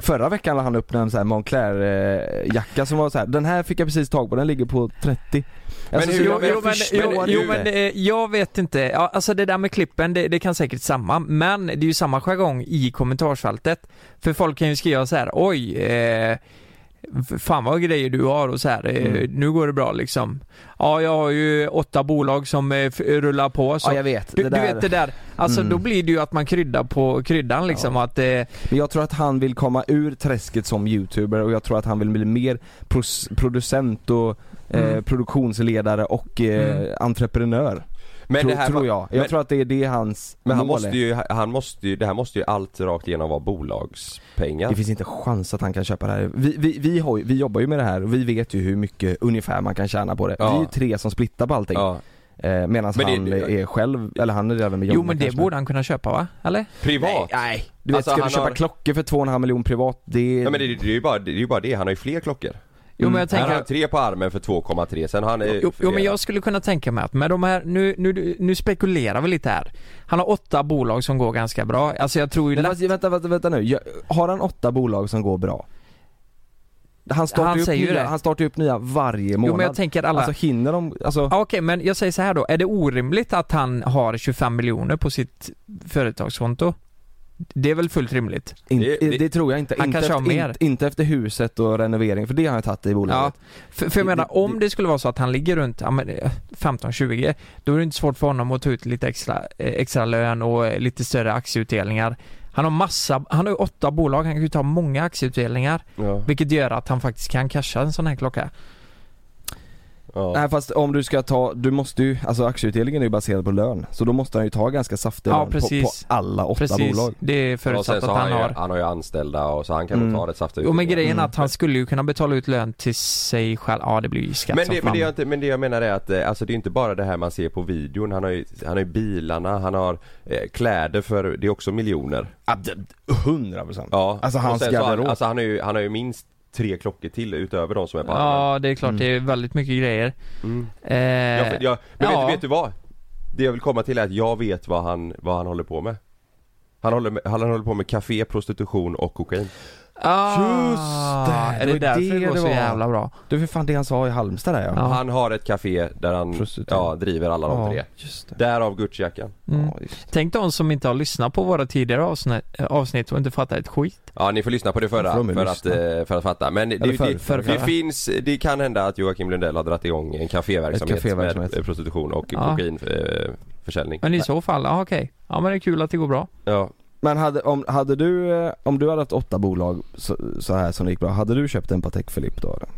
förra veckan la han upp en sån här Moncler eh, jacka som var så här, den här fick jag precis tag på, den ligger på 30 Alltså, så
Jo,
jag- jag
jo, men,
förstår
jo, jo
det.
men eh, jag vet inte, ja, alltså det där med klippen det, det kan säkert samma, men det är ju samma jargong i kommentarsfältet. För folk kan ju skriva så här: oj, eh, f- fan vad grejer du har och så här, eh, nu går det bra liksom. Ja, jag har ju åtta bolag som eh, f- rullar på så.
Ja jag vet,
du,
det där,
du vet det där, alltså
Mm.
då blir det ju att man kryddar på kryddan liksom att eh,
men jag tror att han vill komma ur träsket som youtuber och jag tror att han vill bli mer pros- producent och eh,
Mm.
produktionsledare och eh,
Mm.
entreprenör
Men
tror,
det här
tror
var-
jag, jag
men-
tror att det är det hans
Men han
mål
måste
är.
ju, han måste ju, det här måste ju allt rakt igenom vara bolagspengar
Det finns inte chans att han kan köpa det här. Vi, vi, vi, har, ju- vi jobbar ju med det här och vi vet ju hur mycket ungefär man kan tjäna på det.
Ja.
Vi är ju tre som splittar på allting.
ja.
Eh, Medan
Men det-
han är själv, eller han är redan med
jo
Jonna
men det
kanske.
borde han kunna köpa va? Eller?
Privat?
Nej, nej. Du vet,
Alltså,
ska
han
du köpa
har-
klockor för 2,5 miljoner privat? Det är...
Ja men det, det, är ju bara, det är ju bara det, han har ju fler klockor
Jo
Mm.
men jag tänker
Han har tre på armen för 2,3 sen har han eh,
Jo, jo men
flera.
jag skulle kunna tänka mig att med de här, nu, nu, nu spekulerar vi lite här. Han har åtta bolag som går ganska bra. Alltså jag tror ju
Men
lätt-
fast, vänta, vänta, vänta nu. Jag- Har han åtta bolag som går bra? Han startar,
Han
ju upp,
säger ju
nya,
det.
han startar ju upp nya varje månad.
Jo men jag tänker alla...
Alltså hinner de, alltså...
Ja, Okej men jag säger så här då, är det orimligt att han har 25 miljoner på sitt företagskonto? Det är väl fullt rimligt?
in,
det-
det, tror jag inte.
Han
inte,
kanske
efter,
har mer.
inte, inte efter huset och renovering, för det har jag tagit i bolaget.
För, för jag
Det-
menar,
det-
om det skulle vara så att han ligger runt ja, men, eh, 15-20, då är det inte svårt för honom att ta ut lite extra, eh, extra lön och eh, lite större aktieutdelningar. Han har massa, han har ju åtta bolag, han kan ju ta många aktieutdelningar.
Ja,
Vilket gör att han faktiskt kan casha en sån här klocka.
ja.
Nej fast om du ska ta, du måste ju, alltså aktieutdelningen är ju baserad på lön. Så då måste han ju ta ganska saftig
Ja,
lön på, på
precis.
alla åtta
Precis,
bolag.
det är
Och sen
förutsatt
så
att han
ju-
har.
Han har ju anställda och så han kan nog
Mm.
ta rätt saftiga
Jo men
utdelningar.
grejen är att han skulle ju kunna betala ut lön till sig själv. Ja det blir ju skatt
Men
som
det, men,
fan.
det jag inte, men det jag menar är att eh, alltså det är inte bara det här man ser på videon. Han har ju, han har ju bilarna, han har eh, kläder för, det är också miljoner.
Hundra procent.
Ja.
Alltså,
Och
hans
sen så han,
garderob.
alltså han har ju, han har ju minst tre klockor till utöver de som är på armen.
Ja det är klart, det är väldigt mycket grejer.
Mm.
Eh,
Ja, för- ja, men
ja.
vet, du- vet du vad? Det jag vill komma till är att jag vet vad han, vad han håller på med. Han håller, med, han håller på med café, prostitution och kokain.
Ah,
Just det,
Är
det
det
var
därför
det
det går
det
så
var.
jävla bra?
Det var för fan det han sa i Halmstad där ja.
Ja.
Han har ett café där han
Prostitution.
ja, driver alla de tre.
just det.
Därav Gucci-jackan.
Mm.
Ja, just det.
Tänk de som inte har lyssnat på våra tidigare avsnitt, avsnitt och inte fattat ett skit.
Ja ni får lyssna på det förra
Då får de ju
för att,
lyssna.
eh, för att fatta. Men det,
Eller förr,
det,
förr,
det,
förra.
finns, det kan hända att Joakim Lundell har dragit igång en kaféverksamhet,
Ett kaféverksamhet.
med eh, prostitution och eh,
Ja.
kokainförsäljning.
Men i så fall, ja okej. Ja men det är kul att det går bra.
Ja.
Men hade, om, hade du, eh, om du hade haft åtta bolag så, så här som det gick bra, hade du köpt en Patek Philippe då eller?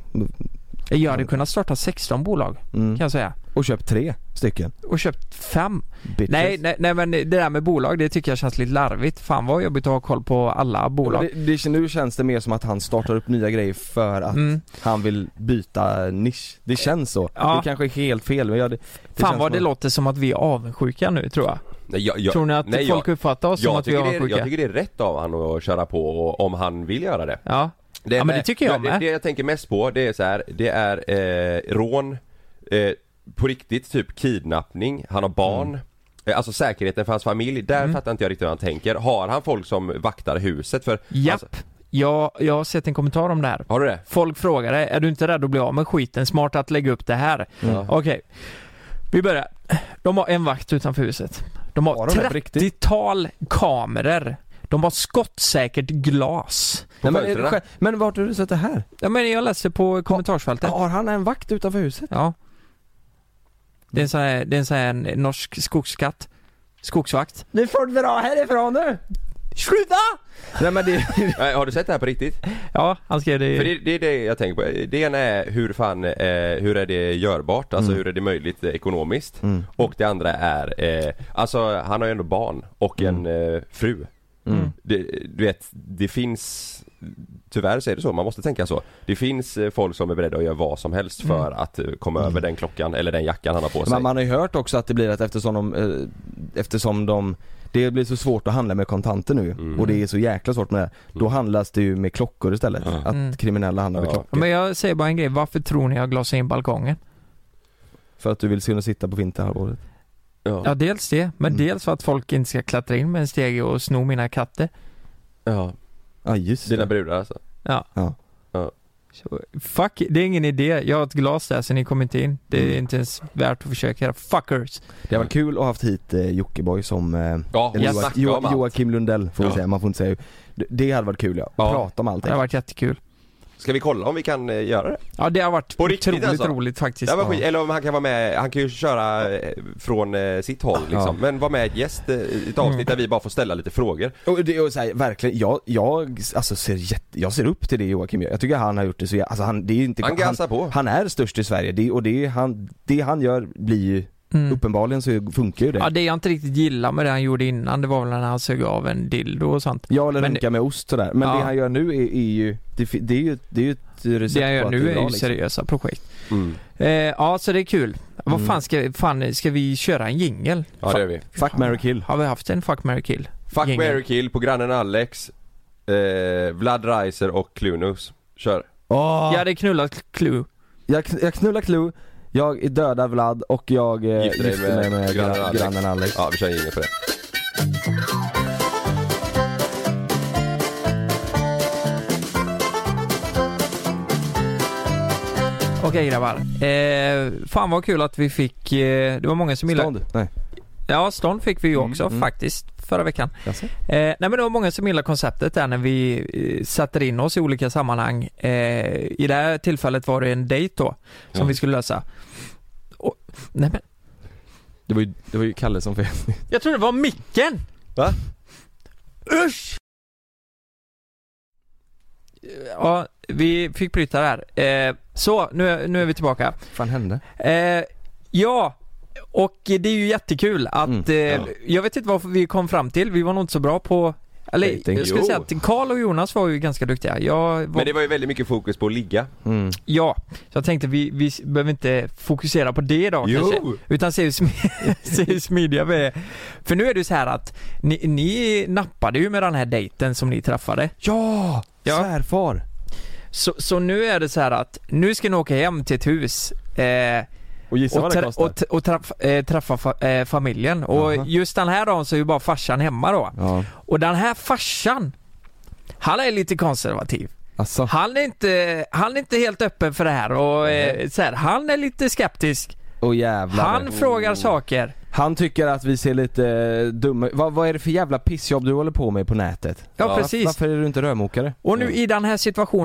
Jag hade kunnat starta 16 bolag
Mm.
kan jag säga.
Och köpt tre stycken?
Och köpt fem.
Bitches.
Nej, nej, nej men det där med bolag det tycker jag känns lite larvigt. Fan vad jobbigt att ha koll på alla bolag.
Det, det, nu känns det mer som att han startar upp nya grejer för att
Mm.
han vill byta nisch. Det känns så.
Ja.
Det kanske är helt fel men jag, det, det
Fan
känns
vad
som
det
att-
låter som att vi är avundsjuka nu tror jag.
Nej, jag, jag,
tror ni att
nej,
folk
jag,
uppfattar oss som
jag,
att vi är
tycker det är,
avundsjuka?
jag tycker det är rätt av han att köra på och, om han vill göra det.
Ja.
det
Ja, men det tycker jag
det,
med.
det jag tänker mest på det är så här, det är eh, rån, eh, på riktigt typ kidnappning, han har barn.
Mm.
Eh, Alltså säkerheten för hans familj, där fattar inte jag riktigt hur han tänker. Har han folk som vaktar huset? För,
Japp.
alltså,
Jag, jag har sett en kommentar om det här.
har du det?
Folk frågade, är du inte rädd att bli av med skiten? Smart att lägga upp det här. Mm. Okej. Vi börjar. De har en vakt utanför huset. De har,
Har de det på riktigt?
30-tal kameror. De har skottsäkert glas.
Nej, men, är det
fönstren.
själv- men vart har du sett det här?
Ja men jag läste på kommentarsfältet.
Har han en vakt utanför huset?
Ja. Det är en sån här, det är en sån här norsk skogskatt. Skogsvakt.
Nu får du dra härifrån nu!
Sluta!
Nej men det,
Nej, har du sett det här på riktigt?
Ja, han skrev det
För det, det är det jag tänker på. Det ena är hur fan, eh, hur är det görbart? Alltså hur är det möjligt eh, ekonomiskt? Och det andra är, eh, alltså han har ju ändå barn och en eh, fru. Det, du vet, det finns Tyvärr så är det så, man måste tänka så. Det finns eh, folk som är beredda att göra vad som helst för att eh, komma över den klockan eller den jackan han har på sig.
Men man har ju hört också att det blir att eftersom de, eh, eftersom de det blir så svårt att handla med kontanter nu och det är så jäkla svårt med det. Då handlas det ju med klockor istället. Att kriminella handlar med
Ja.
klockor.
Men jag säger bara en grej, varför tror ni jag glasar in balkongen?
För att du vill se och sitta på vinterhalvåret.
Ja.
Ja, dels det, men dels för att folk inte ska klättra in med en stege och sno mina katter.
ja.
Ja just
Dina
det.
brudar alltså?
Ja.
Ja.
Ja.
Så, fuck, det är ingen idé. Jag har ett glas där så ni kommer inte in. Det är inte ens värt att försöka era fuckers.
Det var kul att ha haft hit eh, Jockiboi som eh,
Ja,
eller
jag
Joak-
snackar
Jo-
om allt.
Joakim Lundell får vi
Ja.
säga, man får inte säga Det- Det hade varit kul ja,
Ja.
prata om
Det
allting
har varit jättekul.
Ska vi kolla om vi kan eh, göra det?
Ja, det har varit
På
otroligt
riktigt, alltså?
roligt faktiskt.
Det var skit, eller om han kan vara med, han kan ju köra eh, från eh, sitt håll liksom. Men vara med gäst eh, i ett avsnitt där vi bara får ställa lite frågor.
Och det är så här, verkligen, jag, jag, alltså ser jätte, jag ser upp till det Joakim gör. Jag tycker han har gjort det så, jä- alltså han, det är ju inte
Han gasar på.
han är störst i Sverige det, och det, är han, det han gör blir ju,
Mm.
uppenbarligen så funkar ju det
Ja, det jag inte riktigt gillar med det han gjorde innan, det var väl när han sög av en dildo och sånt.
Ja eller
Men-
runka med ost sådär, men
Ja.
det han gör nu är, är ju, det, fi- det är ju, det är ju ett recept
Det han
på
gör
att
nu
det
är
bra,
ju
liksom.
seriösa projekt.
Mm.
Eh, ja, så det är kul. Vad
Mm.
fan ska, fan ska vi köra en jingel?
Ja det gör vi.
Fuck, marry, kill
Har vi haft en fuck, marry, kill?
Fuck,
Gängen.
marry, kill på grannen Alex, eh, Vlad Reiser och Clunus. Kör.
Åh!
Jag hade knullat Clue.
Jag, kn- jag knullar Clue, jag dödar Vlad och jag eh,
Gifter dig
gifter mig
med
med,
grannen
gra-
Alex.
grannen Alex
Ja vi kör ingen på det.
Okej grabbar. Eh, fan vad kul att vi fick, eh, det var många som gillade...
Stånd? Nej
Ja, stånd fick vi ju också
mm.
faktiskt förra veckan.
Jaså?
Eh, nej men det var många som gillade konceptet där när vi eh, sätter in oss i olika sammanhang. Eh, I det här tillfället var det en dejt då, som
Ja.
vi skulle lösa. Och, nej men,
Det var ju, det var ju Kalle som fel
jag tror det var micken!
Va?
Usch! Ja, vi fick bryta där. Eh, så, nu, är- nu är vi tillbaka.
fan hände?
Eh, ja, och det är ju jättekul att,
Mm,
eh,
ja.
jag vet inte vad vi kom fram till, vi var nog inte så bra på eller
Dating.
jag skulle
Jo.
säga att Karl och Jonas var ju ganska duktiga. Jag var,
Men det var ju väldigt mycket fokus på att ligga.
Mm.
Ja, så jag tänkte vi, vi behöver inte fokusera på det idag kanske. Utan se hur, sm- se hur smidiga vi är. För nu är det ju så här att ni, ni nappade ju med den här dejten som ni träffade.
Ja!
Ja.
Svärfar!
Så, så nu är det så här att nu ska ni åka hem till ett hus. Eh,
Och gissa
och,
vad det
tra-
kostar?
och, t- och träff- eh, träffa fa- eh, familjen. Och
Jaha.
just den här dagen så är ju bara farsan hemma då.
ja,
Och den här farsan, han är lite konservativ.
alltså
Han är inte, han är inte helt öppen för det här och eh, så här, han är lite skeptisk.
Åh jävlar Oh.
Han frågar saker.
Han tycker att vi ser lite eh, dumma vad, vad är det för jävla pissjobb du håller på med på nätet?
Ja,
Var-
precis.
Varför är du inte rörmokare?
Och nu i den här situationen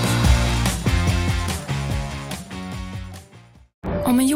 Om en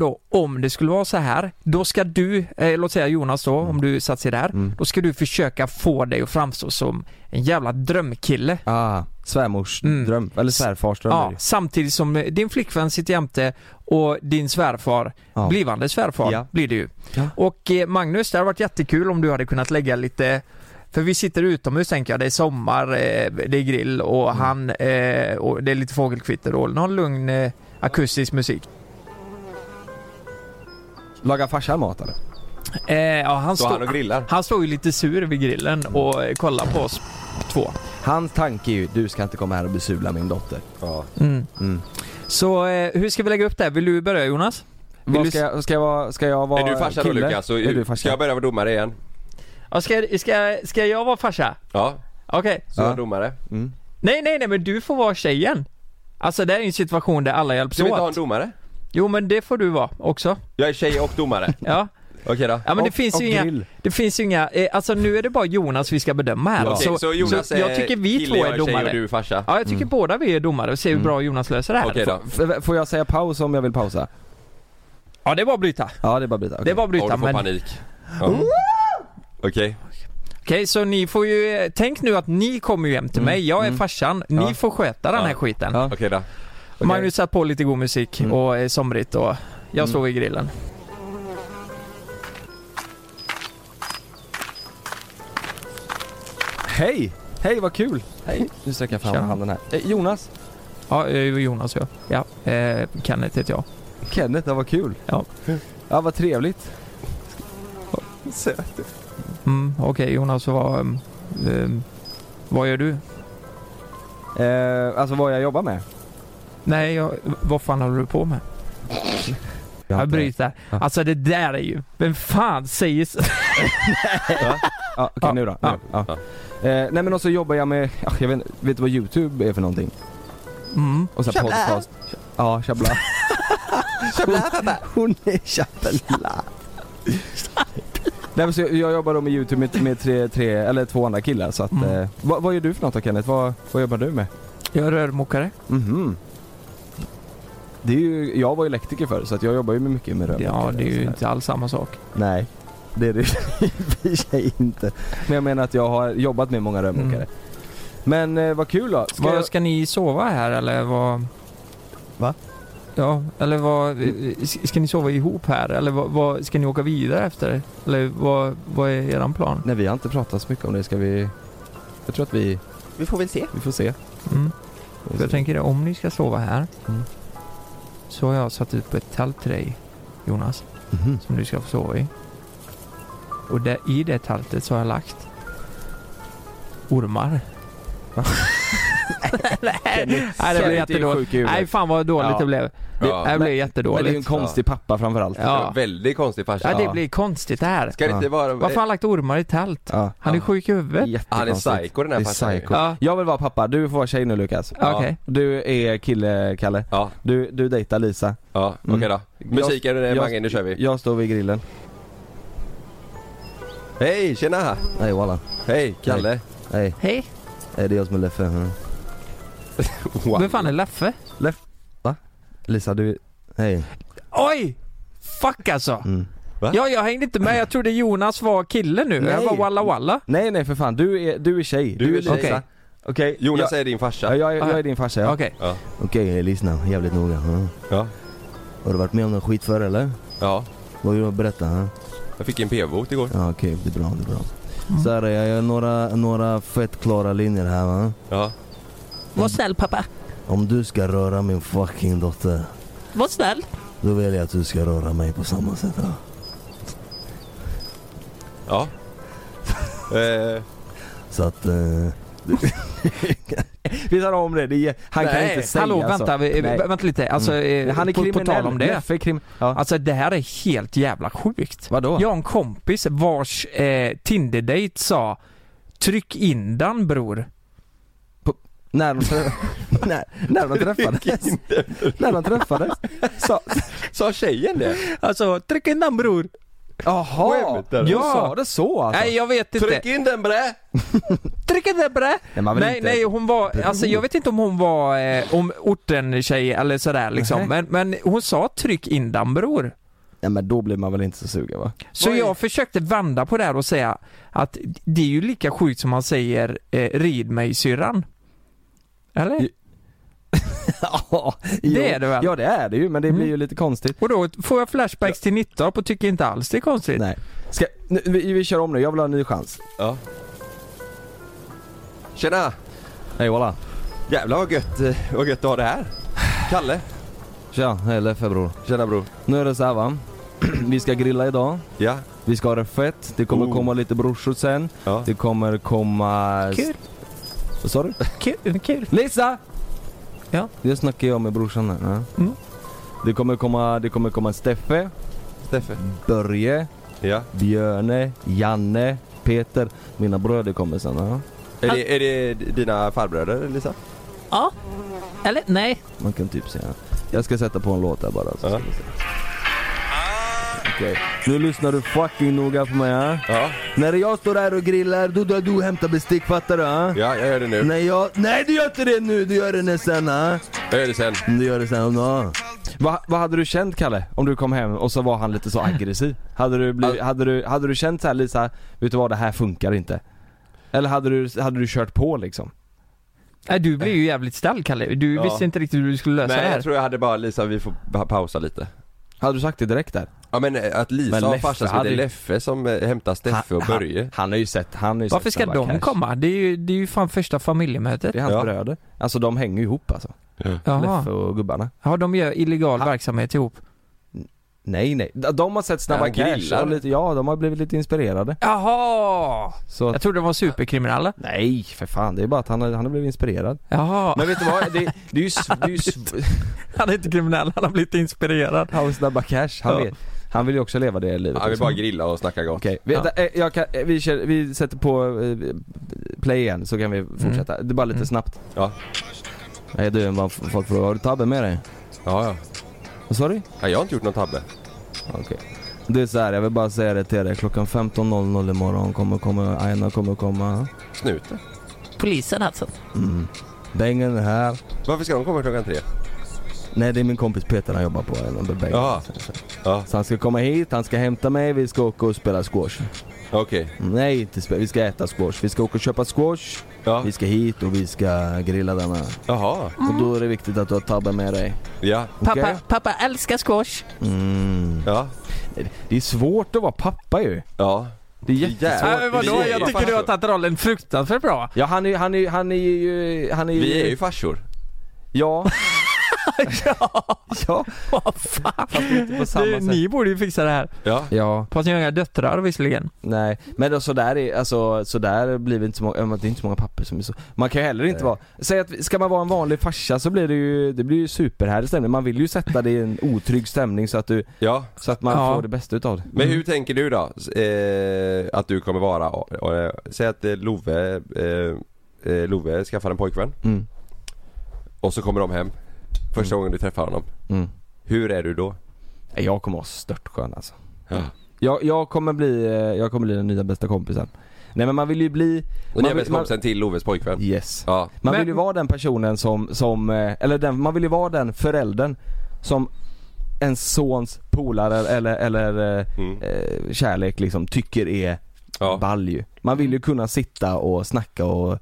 då, om det skulle vara så här, då ska du, eh, låt säga Jonas då, om du satt sig där, då ska du försöka få dig att framstå som en jävla drömkille.
Ah, svärmors
Mm.
dröm, eller svärfars dröm är
Ja,
det ju.
samtidigt som eh, din flickvän sitter jämte och din svärfar,
Ja.
blivande svärfar
Ja.
blir det ju.
Ja.
Och eh, Magnus, det hade varit jättekul om du hade kunnat lägga lite för vi sitter utomhus tänker jag, det är sommar, eh, det är grill och
Mm.
han, eh, och det är lite fågelkvitter och någon lugn eh, akustisk musik.
Lagar farsan mat eller?
Eh, ja, han,
Så
stå,
han och grillar.
han står ju lite sur vid grillen och eh, kollar på oss två.
Hans tanke är ju, du ska inte komma här och besudla min dotter
Ja.
Mm.
Mm.
Så eh, hur ska vi lägga upp det här? Vill du börja Jonas? Vad ska, jag, ska, jag vara, ska jag vara
Är du farsa då
kille?
Lukas? Så,
Är du
Ska
farsa?
jag börja vara domare igen?
Ja, ska, ska,
Eh,
ska jag vara farsa?
Ja,
Okej.
så är jag domare.
Nej, nej, nej, men du får vara tjejen. Alltså det här är ju en situation där alla hjälps
Ska vi inte
åt.
ha en domare?
Jo, men det får du vara också.
Jag är tjej och domare.
Ja.
Okej då.
Ja men det finns ju inga, det finns ju inga, eh, alltså nu är det bara Jonas vi ska bedöma här
Okej, så, Jonas
så jag tycker vi
kille,
två
jag
är
tjej
domare.
och du är farsa.
Ja jag
Mm.
tycker båda vi är domare och ser hur bra Jonas löser det här.
Okej då.
F-
F- Får jag säga paus om jag vill pausa?
Ja det är bara att bryta.
Ja det är bara att bryta.
Det är bara att bryta
Ja, du får
men...
panik. Ja.
Mm.
Okej.
Okej så ni får ju, eh, tänk nu att ni kommer ju hem till mig, jag är farsan, ni
Ja.
får sköta den här skiten.
Mm. Ja.
Okej då.
Magnus satt på lite god musik
Mm.
och är somrigt och jag står vid grillen.
Hej! Hej vad kul! Hej! Nu sträcker jag fram
Tja.
handen här. Eh, Jonas!
Ja, eh, Jonas och jag. Ja, eh, Kenneth heter jag.
Kenneth, ja, vad kul!
Ja.
Ja vad trevligt!
Mm, Okej Jonas, vad, ehm, ehm, vad gör du?
Eh, alltså vad jag jobbar med?
Nej, jag, vad fan håller du på med?
Jag har
Jag
inte-
bryter.
Ja.
Alltså det där är ju... Vem fan säger så?
Ja, okej
Ja.
nu då. Nu. Ja. Eh, nej men och så jobbar jag med, ja, jag vet inte- vet du vad youtube är för någonting?
Mm.
Och sen
Chabla.
podcast. Ja, chabla. chabla pappa. Hon är chabla. Nej men så jag, jag jobbar då med youtube med, med tre, tre, eller två andra killar så
Mm.
att, eh, vad, vad gör du för något då Kenneth? Vad, vad jobbar du med?
Jag är rörmokare.
Mhm. Det är ju, jag var elektriker förr så att jag jobbar ju mycket med rörmokare.
Ja, det är
och
ju
sådär.
inte alls samma sak.
Nej, det är det i och för sig inte. Men jag menar att jag har jobbat med många rörmokare. Men eh, Mm. vad kul då. Ska
Ska,
jag...
ska ni sova här eller vad?
Va?
Ja, eller vad... eh, s- Ska ni sova ihop här eller vad, vad ska ni åka vidare efter? Eller vad, vad är eran plan?
Nej vi har inte pratat så mycket om det. Ska vi... Jag tror att vi...
Vi får väl se.
Vi får se.
Mm.
Vi
Jag
får se.
tänker det, om ni ska sova här
Mm.
så har jag satt upp ett tält till dig, Jonas,
Mhm.
som du ska få sova i. Och där, i det tältet så har jag lagt ormar. Nej, Nej, det blev
Kenneth är
jättedåligt.
sjuk i huvudet.
Nej, fan vad dåligt
Ja.
det blev. Det,
Ja.
det
Äh, Men-
blev
Men
jättedåligt.
det är ju en konstig pappa framförallt.
Ja.
Väldigt konstig farsa.
Ja, det blir konstigt det här.
Ska det inte vara...
Varför har han lagt ormar i tält?
Ja.
Han är sjuk i huvudet.
Han är
Jättekonstigt.
psycho den här
Det är
farsan.
psycho.
Ja.
Jag vill vara pappa, du får vara tjej nu Lukas.
Okej.
Du är kille, Kalle.
Ja,
Du, du dejtar Lisa.
ja, okej
Mm.
då. Musiken är Mange, nu kör vi.
Jag står vid grillen.
Hej, tjena!
Nej walla.
Hej, Kalle.
Nej,
Hej,
nej, det är jag som är Leffe. Mm.
vem fan är Leffe?
Lisa du, hej.
Oj! Fuck alltså!
Mm.
Va?
Ja, jag hängde inte med. Jag trodde Jonas var kille nu. Jag
Nej.
var walla walla.
Nej nej för fan, du är, du är tjej.
Du är tjej.
Lisa. Okej.
Jonas
jag,
är din
ja,
farsa.
jag, är- jag är din farsa ja.
Okej.
Ja.
Okej, lyssna jävligt noga. Mm.
Ja.
Har du varit med om någon skit förr eller?
ja.
Vad vill du berätta? Mm.
Jag fick en p-bot igår.
Ja okej, det är bra, det är bra. Så här, jag gör några, några fett klara linjer här va.
Ja.
Var snäll pappa.
Om du ska röra min fucking dotter,
Var snäll.
då vill jag att du ska röra mig på samma sätt va?
Ja. eh,
Så att... Eh... Vi tar om det, det är, han kan
Nej,
inte säga
Hallå,
alltså.
vänta, vi-
Nej. Mm.
vänta lite. Alltså, eh,
Han är
på, på
kriminell,
tal om det.
Leffe är krim... Ja.
Alltså det här är helt jävla sjukt.
Vadå?
Jag har en kompis vars eh, Tinder-date sa Tryck in den bror.
När de, trä... när, när de träffades. när de träffades. Så...
Sa tjejen det?
Alltså, tryck in den bror.
Jaha!
Skämtar
Ja.
du?
sa det så alltså?
Nej jag vet inte.
Tryck in den bre!
Tryck in den bror.
Nej, man vill
Nej,
inte-
nej, hon var, alltså jag vet inte om hon var, eh, om orten tjej eller sådär liksom.
Nej.
Men, men hon sa tryck in den bror.
Nej men då blir man väl inte så sugen va?
Så
Vad är-
jag försökte vända på det här och säga att det är ju lika sjukt som man säger eh, rid mig syrran. Eller?
Ja,
Det är det väl? Mm.
Ja det är det ju men det blir ju lite konstigt.
Och då får jag flashbacks till 19 och tycker inte alls det är konstigt.
Nej. Ska, nu, vi, vi kör om nu, jag vill ha en ny chans.
Ja. Tjena!
Hej Ola.
Jävlar vad gött, eh, vad gött att ha det här. Kalle.
Tja, hej Leffe bror.
Tjena bror.
Nu är det så här va. Vi ska grilla idag.
Ja.
Vi ska ha det fett. Det kommer
Oh.
komma lite brorsor sen.
Ja.
Det kommer komma...
Kul.
Vad sa du?
Mm.
Kul, kul.
Lisa!
Ja.
Det snackar jag med brorsan här. Ja.
Mm.
Det kommer komma, det kommer komma Steffe,
Steffe.
Börje,
Ja.
Björne, Janne, Peter. Mina bröder kommer sen. Ja.
Är det, är det dina farbröder Lisa?
Ja. Eller nej.
Man kan typ säga. Jag ska sätta på en låt här bara. Så ska vi se. Okej, nu lyssnar du fucking noga på mig här. När jag står här och grillar, då drar du och hämtar bestick, fattar du? Ja,
jag gör det nu.
När jag... Nej du gör inte det nu, du gör det när sen. Ha?
Jag gör det sen.
Du gör det sen, ja.
Va, vad hade du känt Kalle? Om du kom hem och så var han lite så aggressiv? Hade du, blivit, hade du, hade du känt så här Lisa, vet du vad det här funkar inte? Eller hade du, hade du kört på liksom?
Nej du blev ju jävligt ställd Kalle, du
Ja.
visste inte riktigt hur du skulle lösa det
Nej
här.
jag tror jag hade bara Lisa vi får pa- pausa lite.
Hade du sagt det direkt där?
Ja men eh, att Lisa
Men
har en
Leffe
farsa som
hade
heter
ju-
Leffe som eh, hämtar Steffe och
Han-
Börje.
Han har ju sett, han har ju
Varför ska de komma? Det är, ju, det är ju fan första familjemötet.
Det är hans bröder. Alltså de hänger ju ihop alltså.
Jaha.
Leffe och gubbarna.
Ja de gör illegal verksamhet ihop.
Nej nej, de har sett Snabba
Ja,
Cash
grillar.
och lite, ja de har blivit lite inspirerade.
Jaha!
Så
Jag trodde de var superkriminella.
Nej för fan, det är bara att han har, han har blivit inspirerad.
Jaha.
Men vet du vad? Det, det är ju... sv- Det är ju sv-
Han är inte kriminell, han har blivit inspirerad.
Han var Snabba Cash, han,
Ja.
vet, han vill ju också leva det livet.
Han vill
liksom.
bara grilla och snacka gott.
Okej, vi, eh, jag kan, eh, vi, kör, vi sätter på eh, play igen så kan vi fortsätta. Det är bara lite snabbt.
Ja.
Nej du, vad f- folk frågar, har du tabben med dig?
Ja, ja.
Vad sa du?
Ja, jag har inte gjort någon tabbe.
Okej. Det är så här, jag vill bara säga det till dig. Klockan 15.00 imorgon kommer komma, Aina kommer komma.
Snuten.
Polisen alltså.
Mm. Bengen är här.
Varför ska de komma klockan tre?
Nej det är min kompis Peter han jobbar på, eller med Bengen.
Jaha. Ja.
Så han ska komma hit, han ska hämta mig, vi ska åka och spela squash.
Okej.
Nej inte spela, vi ska äta squash. Vi ska åka och köpa squash, vi ska hit och vi ska grilla denna.
Jaha.
Och då är det viktigt att du har tabben med dig.
Ja.
Pappa,
Okej?
pappa älskar squash.
Mm.
Ja.
Det är svårt att vara pappa ju.
Ja.
Det är jättesvårt.
Nej, men Äh, vadå? Jag tycker du har tagit rollen fruktansvärt bra.
Ja han är, han är, han är ju, han är
Vi är ju farsor.
Ja. ja.
Vad fan.
inte på samma
Du,
sätt.
Ni borde ju fixa det här.
Ja.
Ja.
Fast ni har inga döttrar visserligen.
Nej, men då, så där är, alltså så där blir vi inte så många, ja, men det är inte så många papper som är så Man kan ju heller inte vara, säg att, ska man vara en vanlig farsa så blir det ju, det blir ju superhärlig stämning. Man vill ju sätta det i en otrygg stämning så att du,
Ja.
så att man
Ja.
får det bästa utav det.
Men hur tänker du då? S- Eh, att du kommer vara, och, och, säg att eh, Love, eh, eh, Love skaffar en pojkvän.
Mm.
Och så kommer de hem. Första gången du träffar honom.
Mm.
Hur är du då?
Nej, Jag kommer vara störtskön alltså.
Ja.
Jag, jag kommer bli, eh, jag kommer bli den nya bästa kompisen. Nej men man vill ju bli
Och ni är
man vill,
bästa
man,
kompisen till Loves pojkvän?
Yes.
Ja.
man vill ju vara den personen som, som eh, eller den, man vill ju vara den föräldern som en sons polare eller, eller eh, eh, kärlek liksom tycker är ball ju. Man vill ju
Mm.
kunna sitta och snacka och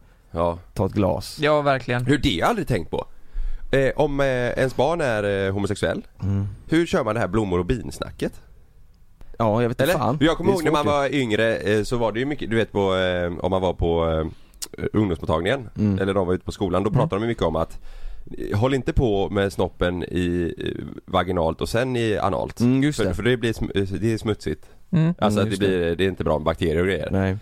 ta ett glas.
Ja, verkligen.
Hur det har jag aldrig tänkt på. Eh, om eh, ens barn är eh, homosexuell,
Mm.
hur kör man det här blommor och bin-snacket?
Ja, jag vet inte
Eller?
fan.
Jag kommer
Det är
ihåg när
svårt
man
ju.
var yngre eh, så var det ju mycket, du vet på, eh, om man var på eh, ungdomsmottagningen
Mm.
eller de var ute på skolan, då pratade de mycket om att eh, Håll inte på med snoppen i eh, vaginalt och sen i analt.
Mm, just
för,
det.
för det blir sm- eh, det är smutsigt.
Mm.
Alltså
Mm,
att det
just
blir, det är inte bra med bakterier och grejer.
Nej.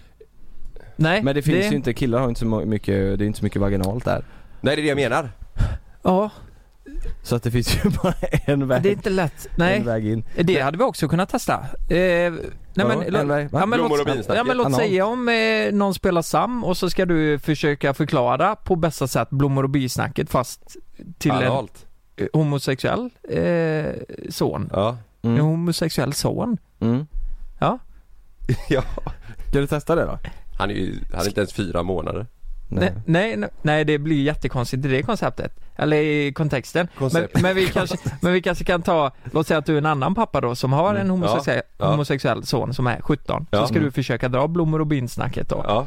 Nej.
Men det finns ju inte, killar har ju inte så mo- mycket, det är inte så mycket vaginalt där.
Nej det är det jag menar.
Ja,
Så att det finns ju bara en väg.
det är inte lätt. Nej.
En väg in.
Det hade vi också kunnat testa. Eh, nej, men,
eller vad?
ja, men,
Blommor och
låt,
binsnack.
ja, men låt
Anal.
säga om eh, någon spelar Sam och så ska du försöka förklara på bästa sätt blommor och bisnacket fast till
Analt.
en eh, homosexuell eh, son.
Ja.
Mm.
En homosexuell son. Ja.
ja.
Ska du testa det då?
Han är ju, han är inte ens fyra månader.
Nej. Nej, nej, nej, det blir jättekonstigt i det konceptet. Eller i kontexten. Men,
Koncept.
men, vi kanske, men vi kanske kan ta, låt säga att du är en annan pappa då som har en homosexuell,
Ja, ja.
homosexuell son som är 17.
Ja.
Så ska du
Mm.
försöka dra blommor och bin-snacket då.
Ja.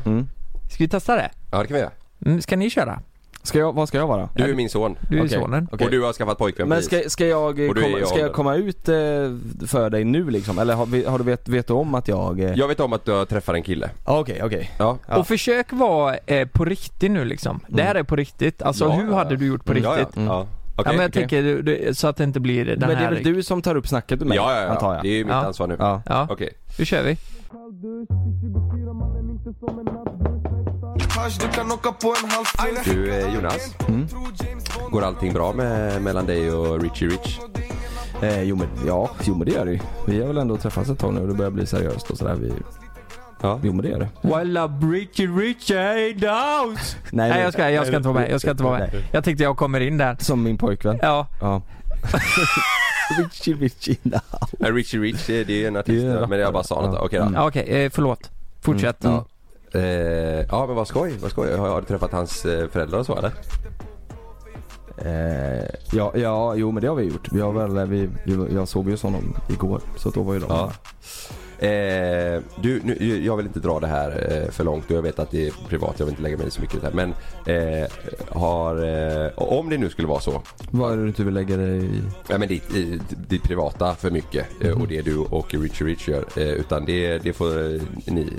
Ska vi testa det?
Ja det kan vi göra.
Mm, ska ni köra?
Ska jag, vad ska jag vara?
Du är min son.
Du är Okej, sonen. okej.
Och du har skaffat pojkvän
Men
precis.
ska, ska, jag, eh,
Och du är i
komma, ska jag
åldern.
komma ut eh, för dig nu liksom? Eller har, vi- har du vet, vet du om att jag... eh,
Jag vet om att du har träffat en kille.
Ja, Okej, okej.
Ja.
Och försök vara eh, på riktigt nu liksom. Det här är på riktigt. Alltså
Ja,
hur
ja,
hade du gjort på
Mm, ja, ja.
riktigt?
Mm. Ja.
Ja,
Okej,
men jag
okej.
tänker du- du- så att det inte blir den
Men det är
här...
väl du som tar upp snacket med mig?
Ja, ja, ja.
Antar jag.
Det är ju mitt
Ja.
ansvar nu.
Ja.
Ja.
Okej.
Nu kör vi.
Mm.
Du eh, Jonas, går allting bra med, mellan dig och Richie Rich?
Eh, jo men ja, jo men det gör det ju. Vi har väl ändå träffats ett tag nu och det börjar bli seriöst och sådär. Vi... Ja. Jo men det gör det.
Walla Bricky Richie Downs! Nej,
men-
jag ska, jag ska
nej,
inte vara med. Jag ska inte vara med.
nej.
Jag tänkte jag kommer in där.
Som min pojkvän?
Ja.
Ja. Richie Richie now.
Nej, Richie Rich, det det är en artist, men jag bara sa något. Okej
Mm.
då.
Ja, Okej, eh, förlåt. Fortsätt.
Mm. Eh, ja men vad skoj, vad skoj. Har, har du träffat hans eh, föräldrar och så eller?
Eh, ja, ja, jo men det har vi gjort. Vi har väl, vi, vi, jag såg ju honom igår, så då var ju de
Ja. Eh, du, nu, jag vill inte dra det här eh, för långt och jag vet att det är privat, jag vill inte lägga mig i så mycket i det här. Men eh, har, eh, om det nu skulle vara så.
Vad är det du inte vill lägga dig i? Mhm.
Ja, men ditt, i, ditt privata för mycket eh, och det du och Richie Rich gör. Eh, utan det, det får eh, ni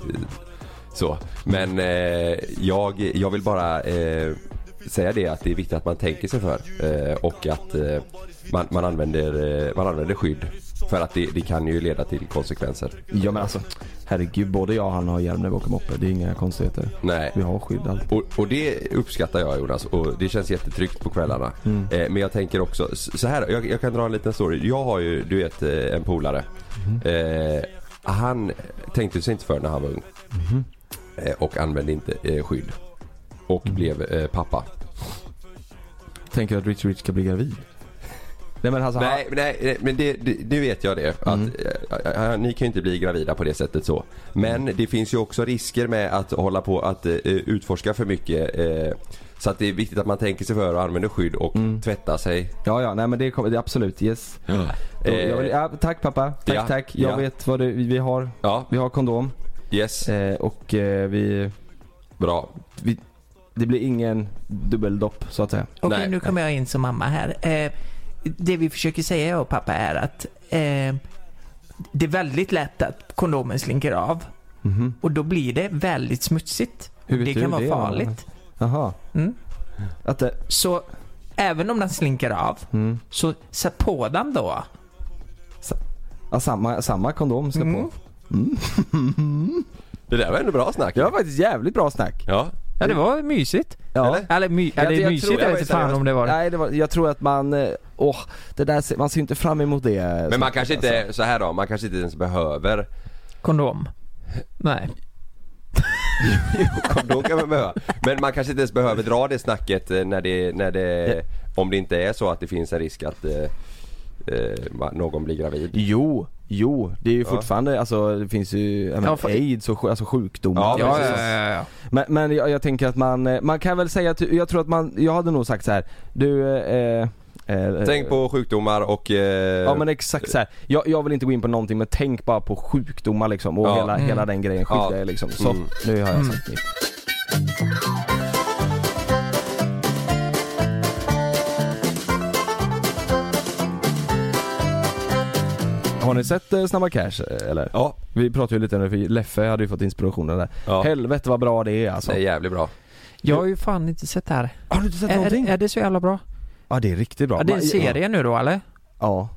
så. Men eh, jag, jag vill bara eh, säga det att det är viktigt att man tänker sig för eh, och att eh, man, man, använder, eh, man använder skydd. För att det, det kan ju leda till konsekvenser.
Ja men alltså, herregud både jag och han har hjälm när vi åker moppe. Det är inga konstigheter.
Nej.
Vi har skydd alltid.
Och, och det uppskattar jag Jonas och det känns jättetryggt på kvällarna.
Mm.
Eh, men jag tänker också s- så här, jag, jag kan dra en liten story. Jag har ju, du vet, eh, en polare.
Mhm.
Eh, han tänkte sig inte för när han var ung.
Mhm.
Eh, och använde inte eh, skydd. Och
Mm.
blev eh, pappa.
Tänker att Rich Rich ska bli gravid? Nej men alltså,
nej, men nej, nej, men det, det, nu vet jag det. Att,
Mm.
eh, eh, ni kan ju inte bli gravida på det sättet så. Men
Mm.
det finns ju också risker med att hålla på att eh, utforska för mycket. Eh, så att det är viktigt att man tänker sig för och använder skydd och
Mm.
tvättar sig.
Ja, ja, nej men det kommer, det, är absolut, yes. Då,
Eh,
jag vill, ja, tack pappa, tack
ja,
tack. Jag
ja.
vet vad det, vi vi har.
Ja.
Vi har kondom.
Yes.
Eh, och eh, vi...
Bra.
Vi, det blir ingen dubbeldopp så att säga.
Okej, nu kommer jag in som mamma här. Eh, det vi försöker säga jag och pappa är att eh, det är väldigt lätt att kondomen slinker av.
Mhm.
Och då blir det väldigt smutsigt.
Hur vet
det
du
kan vara
det?
farligt.
Jaha.
Mm.
Att det...
Så även om den slinker av,
Mm.
så sätt på den då.
Ja, samma, samma kondom ska på.
Det där var ändå bra snack.
Det var faktiskt jävligt bra snack.
Ja.
Ja, det var mysigt.
Ja.
Eller, my, eller
Jag- jag
mysigt,
tror-
jag,
jag
vet inte
var-
fan om det var det.
Nej, det var, jag tror att man, eh, åh, det där, ser- man ser ju inte fram emot det. eh, alltså.
Men man kanske inte, så här då, man kanske inte ens behöver
Kondom. Nej.
kondom kan man behöva. Men man kanske inte ens behöver dra det snacket eh, när det, när det om det inte är så att det finns en risk att eh, eh, ma- någon blir gravid.
Jo, jo, det är ju
Ja.
fortfarande, alltså det finns ju, jag menar,
Ja, för-
aids och sj- alltså sjukdomar.
Ja,
Ja,
precis.
ja, ja, ja.
Men, men jag, jag tänker att man, eh, man kan väl säga att, jag tror att man, jag hade nog sagt så här. du eh, eh,
Tänk på sjukdomar och... Eh,
Ja men exakt så här. Jag, jag vill inte gå in på någonting men tänk bara på sjukdomar liksom och
Ja.
hela,
Mm.
hela den grejen,
Ja.
skydda er liksom. Så,
Mm.
nu har jag sagt mitt. Har ni sett eh, Snabba Cash eh, eller?
ja,
Vi pratade ju lite om det för Leffe hade ju fått inspirationen där.
Ja.
Helvete vad bra det är alltså.
det är jävligt bra.
Jag har ju fan inte sett det här.
Har du inte sett någonting?
Är, är det så jävla bra?
ja det är riktigt bra.
Ja, det är en
Man-
serie nu då eller?
Ja.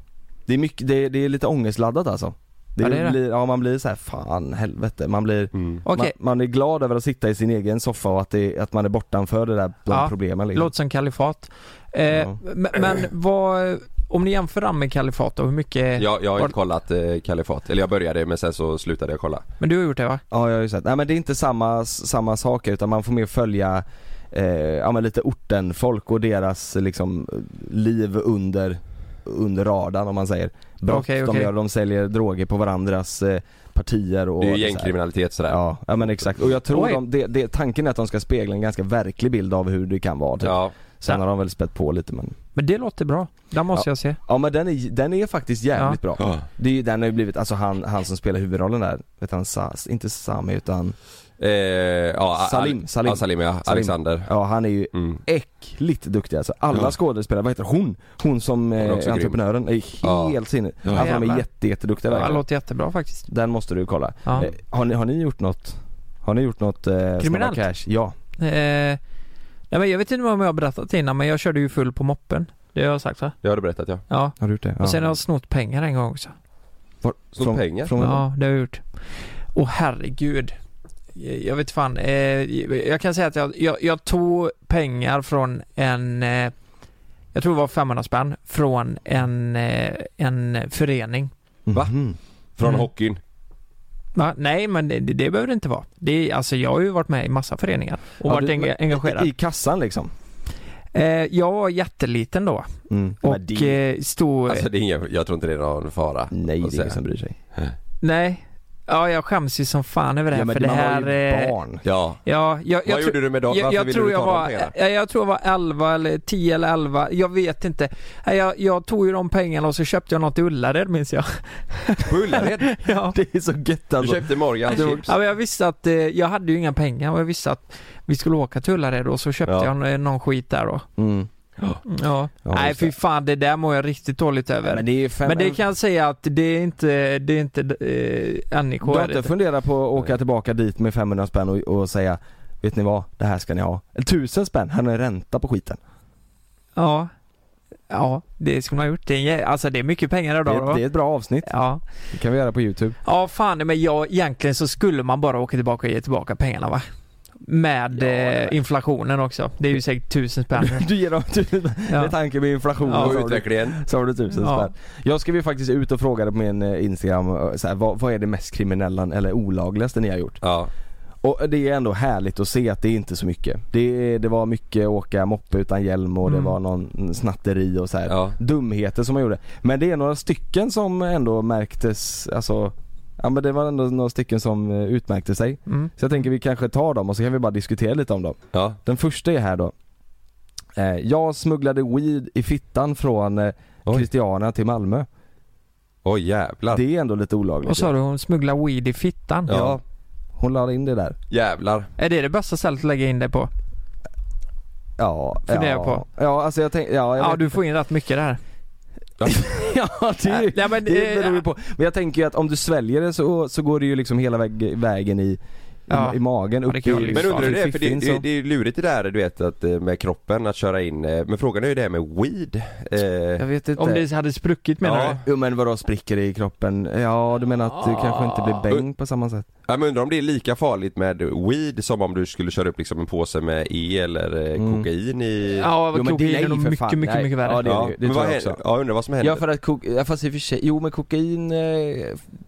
Det är mycket, det är, det är lite ångestladdat alltså. Det,
Ja, det är det.
Blir, ja man blir så här, fan helvete. Man blir,
Okej,
man, man är glad över att sitta i sin egen soffa och att, det, att man är bortanför det där bland
Ja,
problemen liksom.
låter som kalifat. Eh,
Ja.
Men, men vad, om ni jämför den med kalifat då, hur mycket?
Jag, jag har
Var-
inte kollat eh, Kalifat, eller jag började men sen så slutade jag kolla.
Men du har gjort det va?
Ja jag har ju sett, nej men det är inte samma, samma saker utan man får mer följa eh, ja men lite ortenfolk och deras liksom liv under, under radarn om man säger. Brott
Okej,
de
okej.
gör, de säljer droger på varandras eh, partier och
Det är ju
så här.
gängkriminalitet sådär.
Ja, ja men exakt. Och jag tror
Oj.
de, det, det, tanken är att de ska spegla en ganska verklig bild av hur det kan vara typ.
Ja.
Sen har de väl spett på lite men
Men det låter bra. Den måste
Ja.
jag se.
Ja men den är, den är faktiskt jävligt bra.
Ja.
Det är, ju- den har ju blivit, alltså han, han som spelar huvudrollen där, vet han, Sa, inte Sami utan,
Eh, ja,
Salim, Salim.
Ja, Salim, ja. Alexander.
ja han är ju
Mm.
äckligt duktig alltså. Alla
Ja.
skådespelare, vad heter hon? Hon som
är
eh,
också grym.
entreprenören, är
Ja.
helt sinnet.
Ja.
Alltså de är
Jävlar.
jätte, jätteduktiga
Det
verkligen.
låter jättebra faktiskt.
Den måste du kolla.
Ja.
Eh, har, ni, har ni gjort något, har ni gjort något eh, Snabba
Kriminellt?
Cash? Ja.
Eh, nej men jag vet inte om jag har berättat det innan men jag körde ju full på moppen. Det har jag sagt va?
Det har du berättat ja.
Ja.
Har du gjort det? Ja.
Och sen har jag snott pengar en gång också.
Var,
Snott pengar?
Från,
Ja, det har jag gjort. Åh herregud. Jag vet fan. Eh, jag kan säga att jag, jag, jag tog pengar från en, eh,
jag tror det var 500 spänn, från en, eh, en förening.
Va? Från
Mm.
hockeyn?
Va? Nej, men det, det behöver det inte vara. Det, är- alltså jag har ju varit med i massa föreningar och
Ja,
varit
du-
enga- engagerad.
I kassan liksom?
Eh, jag var jätteliten då
Mm.
och
Men det-
eh, stod...
Alltså det är ingen, jag tror inte det är någon fara.
Nej
Och
det är liksom-
sen-
ingen som bryr sig.
Nej. Ja, jag skäms ju som fan över det här
Ja men
för det
man
här...
var ju
eh,
barn.
Ja.
Ja, jag, jag
Vad gjorde du med dem?
Jag,
Varför
jag
ville
tror
du ta
jag
de
var,
pengarna?
jag, jag tror jag var 11 eller 10 eller 11, jag vet inte. Nej, Jag, jag tog ju de pengarna och så köpte jag något i Ullared minns jag.
På Ullared?
Ja.
Det är så gött
Du
alltså.
köpte Morgan chips?
Ja, men jag visste att, eh, jag hade ju inga pengar och jag visste att vi skulle åka till Ullared och så köpte
Ja.
jag eh, någon skit där då.
Mm.
Ja.
Ja,
Nej
just
fy fan, det där mår jag riktigt dåligt över.
Nej,
men,
men
det,
det är ju fem...
kan jag säga att det är inte, det är inte eh, NIK.
Du har
är det
inte
inte.
funderat på att åka tillbaka dit med 500 spänn och, och säga Vet ni vad? Det här ska ni ha. Eller 1000 spänn, här är en ränta på skiten.
Ja. Ja, det skulle man ha gjort. Det är, en jä- alltså det är mycket pengar
Det
idag
är,
då.
det är ett bra avsnitt.
Ja.
Det kan vi göra på youtube.
Ja fan, men jag, egentligen så skulle man bara åka tillbaka och ge tillbaka pengarna va? Med eh, inflationen också. Det är ju säkert tusen spänn.
Du ger dem tusen
Ja.
med tanke på inflation
Ja.
och
Och
så har du-
utvecklingen?
så har du tusen
Ja.
spänn. Jag skrev ju faktiskt ut och frågade på min eh, instagram eh, så här, vad, vad är det mest kriminella eller olagligaste ni har gjort?
Ja.
Och det är ändå härligt att se att det är inte så mycket. Det, det var mycket åka moppe utan hjälm och
Mm.
det var någon snatteri och så här.
Ja.
Dumheter som man gjorde. Men det är några stycken som ändå märktes, alltså Ja men det var ändå några stycken som eh, utmärkte sig.
Mm.
Så jag tänker vi kanske tar dem och så kan vi bara diskutera lite om dem.
Ja.
Den första är här då. Eh, jag smugglade weed i fittan från eh,
Oj.
Christiana till Malmö.
Åh jävlar.
Det är ändå lite olagligt.
Vad sa du? Hon smugglar weed i fittan?
Ja. Hon la in det där.
Jävlar.
Är det det bästa stället att lägga in det på?
Ja.
Funderar
ja.
på.
Ja alltså jag tänkte, ja, jag
Ja,
vet-
du får in rätt mycket där.
ja det, är ju-
Nej, men,
det
eh,
beror ju på. Men jag tänker ju att om du sväljer det så, så går det ju liksom hela väg, vägen i, i,
Ja.
i magen.
Ja,
Upp
det kan jag liksom
i-
lyfta.
Men undrar du
i
det? För det,
fiffin, så-
det, det är ju lurigt det där du vet att eh, med kroppen att köra in, eh, men frågan är ju det här med weed.
Jag
Eh,
vet inte.
Om det hade spruckit menar
Ja.
du?
Jo men vadå spricker i kroppen? Ja du menar att du kanske inte blir bäng på samma sätt?
ja, men undrar om det är lika farligt med weed som om du skulle köra upp liksom en påse med E eller eh,
Mm.
kokain i...
Ja,
Jo, men det-
kokain är
nej,
nog
för
mycket,
fan,
mycket,
nej.
mycket värre.
Ja, det är
Ja,
det
men
tror
vad
jag
händer?
också.
Ja, undrar vad som händer.
Ja för att kok- ja, fast i och för sig, jo men kokain, eh,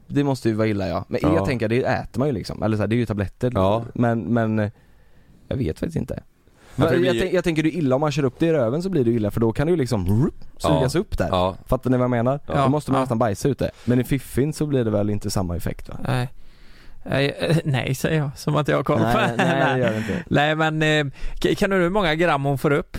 det måste ju vara illa ja. Men
Ja.
jag tänker det äter man ju liksom, eller så här, det är ju tabletter.
Ja.
Men, men eh, jag vet faktiskt inte.
Ja, för det
jag,
blir-
tänk, jag tänker det är illa om man kör upp det i röven så blir det ju illa för då kan det ju liksom rup, sugas upp där.
Ja.
Fattar ni vad jag menar?
Ja.
Då måste man
Ja.
nästan bajsa ut det. Men i fiffin så blir det väl inte samma effekt va?
Nej. Nej, eh, Nej, säger jag. Som att jag har koll på
nej, nej det gör det inte.
Nej, men eh, k- kan du hur många gram hon får upp?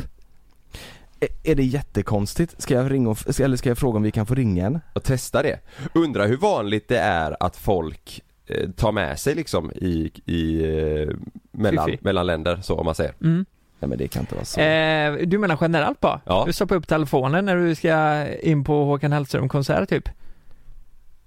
Är, är det jättekonstigt? Ska jag ringa och, f- eller ska jag fråga om vi kan få ringa henne?
Och testa det. Undrar hur vanligt det är att folk eh, tar med sig liksom i, i eh, mellan,
Fiffi.
mellan länder så om man säger.
Mm.
Nej men det kan inte vara så.
Eh, du menar generellt bara?
Ja.
Du stoppar upp telefonen när du ska in på Håkan Hellström-konsert typ?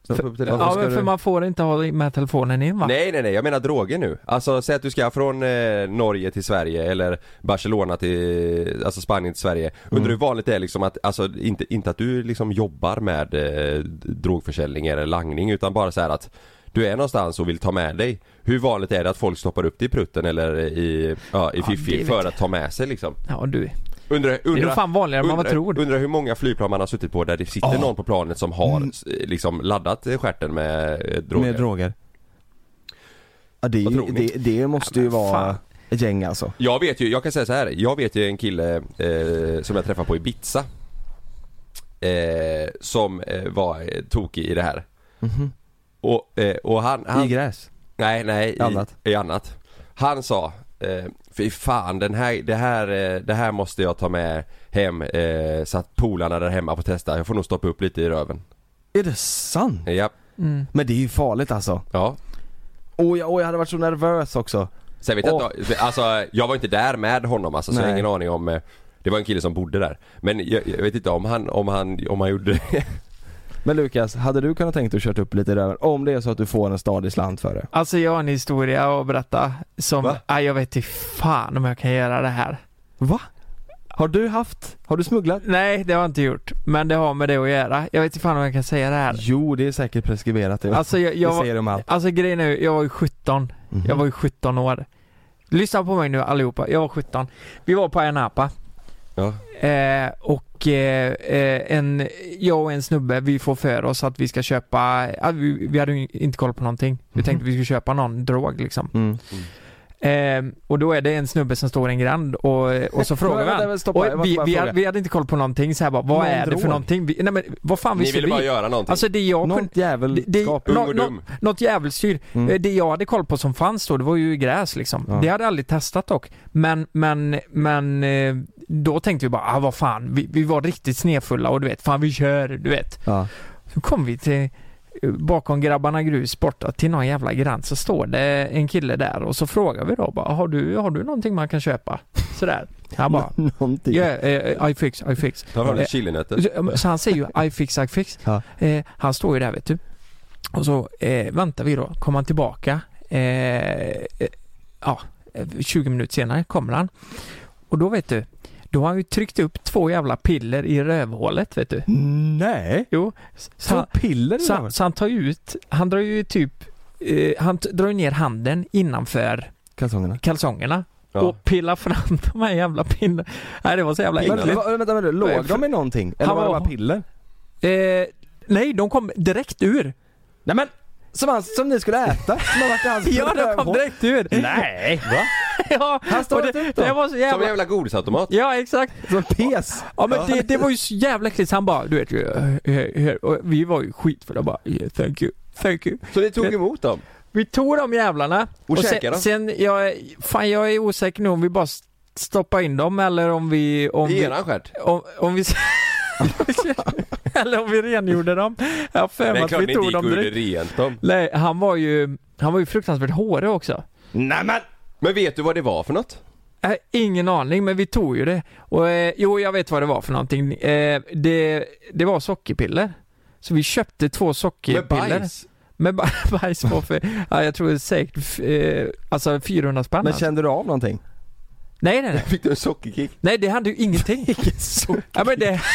Stoppa upp det där.
Ja,
Varför
men
ska
för
du-
man får inte ha med telefonen in va?
Nej nej nej, jag menar droger nu. Alltså säg att du ska från eh, Norge till Sverige eller Barcelona till, alltså Spanien till Sverige. Undrar hur vanligt det är liksom att, alltså inte, inte att du liksom jobbar med eh, drogförsäljning eller langning utan bara så här att du är någonstans och vill ta med dig. Hur vanligt är det att folk stoppar upp det i prutten eller i, ja, i
Ja,
fiffi
det vet
för
jag.
att ta med sig liksom?
Ja, du.
Undrar,
Det är
undrar,
nog fan vanligare än man vad
undrar-
tror.
undrar hur många flygplan man har suttit på där det sitter
Ah.
någon på planet som har s- liksom laddat eh, stjärten med eh, droger.
Mm. Med droger? Ja det, är
Vad
ju-
tror ni?
det, det måste ju vara ett gäng alltså.
Jag vet ju, jag kan säga så här. Jag vet ju en kille eh, som jag träffade på Ibiza. Eh, som eh, var eh, tokig i det här. Och, eh, och han, han...
Mhm. I gräs?
nej, nej. I
annat.
I annat. Han sa, eh, fy fan den här, det här, eh, det här måste jag ta med hem eh, så att polarna där hemma får testa. Jag får nog stoppa upp lite i röven.
Är det sant?
Ja,
Mm.
Men det är ju farligt alltså.
ja.
Åh jag, åh, jag hade varit så nervös också.
Sen vet jag inte, alltså jag var inte där med honom alltså, så jag har
Nej.
ingen aning om eh, Det var en kille som bodde där Men jag, jag vet inte om han, om han, om han gjorde
Men Lukas, hade du kunnat tänkt dig att kört upp lite i röven? Om det är så att du får en stadig slant för det.
Alltså jag har en historia att berätta som,
Va?
nej jag vet inte fan om jag kan göra det här.
Va? Har du haft? Har du smugglat?
Nej, det har jag inte gjort. Men det har med det att göra. Jag vet inte fan om jag kan säga det här.
Jo det är säkert preskriberat. det.
Alltså jag, jag
det
var,
säger de allt. Mhm.
alltså grejen är ju, jag var ju 17. Jag var ju 17 år. Lyssna på mig nu allihopa, jag var 17. Vi var på Ayanapa.
Ja.
Eh, och
och eh, eh, en, jag och en snubbe, vi får för oss att vi ska köpa, ah, vi, vi hade ju inte koll på någonting.
Mhm.
Vi tänkte vi skulle köpa någon drog liksom.
Mm.
Eh, och då är det en snubbe som står i en grand och, och så frågar vi
Vänta,
han.
vänta, stoppa, jag
Och
måste
vi,
bara
vi,
fråga.
hade, vi hade inte koll på någonting så här bara, vad
Någon
är det för
drog?
någonting? Vi, nej men vad fan
Ni
visste
ville
vi?
bara göra någonting.
Alltså det jag kunde,
Något jävel
det, det,
skap.
nå-
Ung och
nå-
dum.
något djävulstyr.
Mm.
Eh, Det jag hade koll på som fanns då, det var ju gräs liksom.
Ja.
Det hade jag aldrig testat dock. Men, men, men eh, då tänkte vi bara, ah, vad fan, vi, vi var riktigt snefulla och du vet, fan vi kör, du vet.
Ja.
Så kom vi till eh, bakom grabbarna grus borta till någon jävla gräns så står det en kille där och så frågar vi då bara, har du, har du någonting man kan köpa? Sådär. Han bara,
Någonting.
yeah, eh, I fix, I fix.
Ta fram
Eh,
lite chilinötter.
så, så han säger ju I fix, I fix.
Ja.
Eh, han står ju där vet du. Och så eh, väntar vi då. Kommer han tillbaka? Eh, eh, ja, eh, 20 minuter senare kommer han. Och då vet du, då har han ju tryckt upp två jävla piller i rövhålet vet du.
Nej!
Jo. Så,
Två
så,
piller i
så,
röven?
så han tar ju ut, han drar ju typ, eh, han t- drar ju ner handen innanför
Kalsongerna.
kalsongerna.
Ja.
Och pillar fram de här jävla pinnen. Nej det var så jävla
Men,
äckligt.
va- vänta, vänta, låg de i någonting? Eller
Han
var det
var-
bara piller?
Eh, nej, de kom direkt ur.
Nej men! Som, han, som ni skulle äta? Som har varit i hans
Ja, de kom
rövhål.
direkt ur.
Nej! Va?
ja,
Han står
och
inte
det,
ut då.
det var så
Som en
jävla...
jävla godisautomat.
Ja, exakt.
Som pes?
Ja men det, det var ju så jävla äckligt. Så Han bara, du vet ju, eh, eh, eh, och vi var ju skitfulla bara, yeah, thank you, thank you.
Så ni tog emot dem?
Vi tog de jävlarna.
Och käkade
sen,
dem?
sen, jag, fan jag är osäker nu om vi bara st- stoppar in dem eller om vi... Om
I
vi,
eran stjärt?
om, om vi... eller om vi rengjorde dem. Jag har för mig
Nej,
att
klart ni
vi
inte
tog
gick och
dem
gjorde
direkt.
rent dem.
Nej, han var ju, han var ju fruktansvärt hårig också.
Nej men!
Men vet du vad det var för något?
Äh, ingen aning, men vi tog ju det. Och, eh, jo, jag vet vad det var för någonting. Eh, det, det var sockerpiller. Så vi köpte två
Med
sockerpiller.
bajs?
Med ba- bajs på för, ja, jag tror säkert, f- eh, alltså 400 spänn.
Men
alltså.
kände du av någonting?
Nej, nej, nej.
Fick du en sockerkick?
Nej, det hade ju ingenting. ja, men det...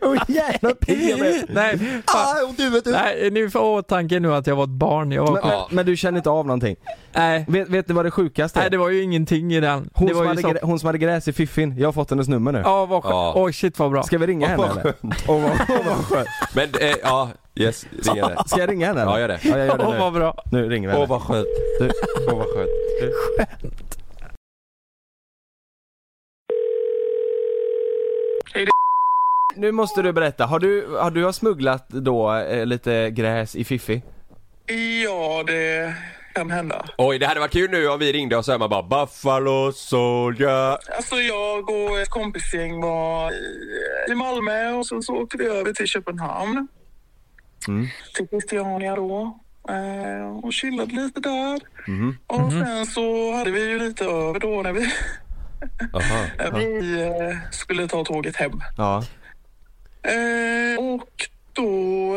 Åh jävla piller!
Nej, fan.
Ah, och du vet du!
nej, nu får jag åtanke nu att jag var ett barn. Jag var,
Men, men, men du kände inte av någonting?
nej,
Vet, vet du vad det sjukaste
nej,
är?
det var ju ingenting i den.
Hon,
det var
som
ju
hade
så-
grä, hon som hade gräs i fiffin, jag har fått hennes nummer nu.
Ja, vad
Ja.
skönt. Oj, shit vad bra.
Ska vi ringa henne eller? Åh vad, åh, vad skönt.
Men eh, ja, yes, ringa det.
Ska jag ringa henne? eller?
Ja, gör det.
Ja, jag gör
Åh,
det
vad
nu.
bra.
Nu ringer vi
Åh
henne.
vad skönt.
Du.
Åh vad skönt.
Nu måste du berätta, har du, har du har smugglat då eh, lite gräs i fiffi?
Ja, det kan hända.
Oj, det hade varit kul nu om vi ringde och så här, man bara Buffalo Soldier.
Alltså jag och ett kompisgäng var i- i Malmö och sen så åkte vi över till Köpenhamn. Till Christiania då. Eh, Och chillade lite där.
Mhm.
Och sen så hade vi ju lite över då när vi,
Aha.
när vi eh, skulle ta tåget hem.
Ja.
Eh, Och då,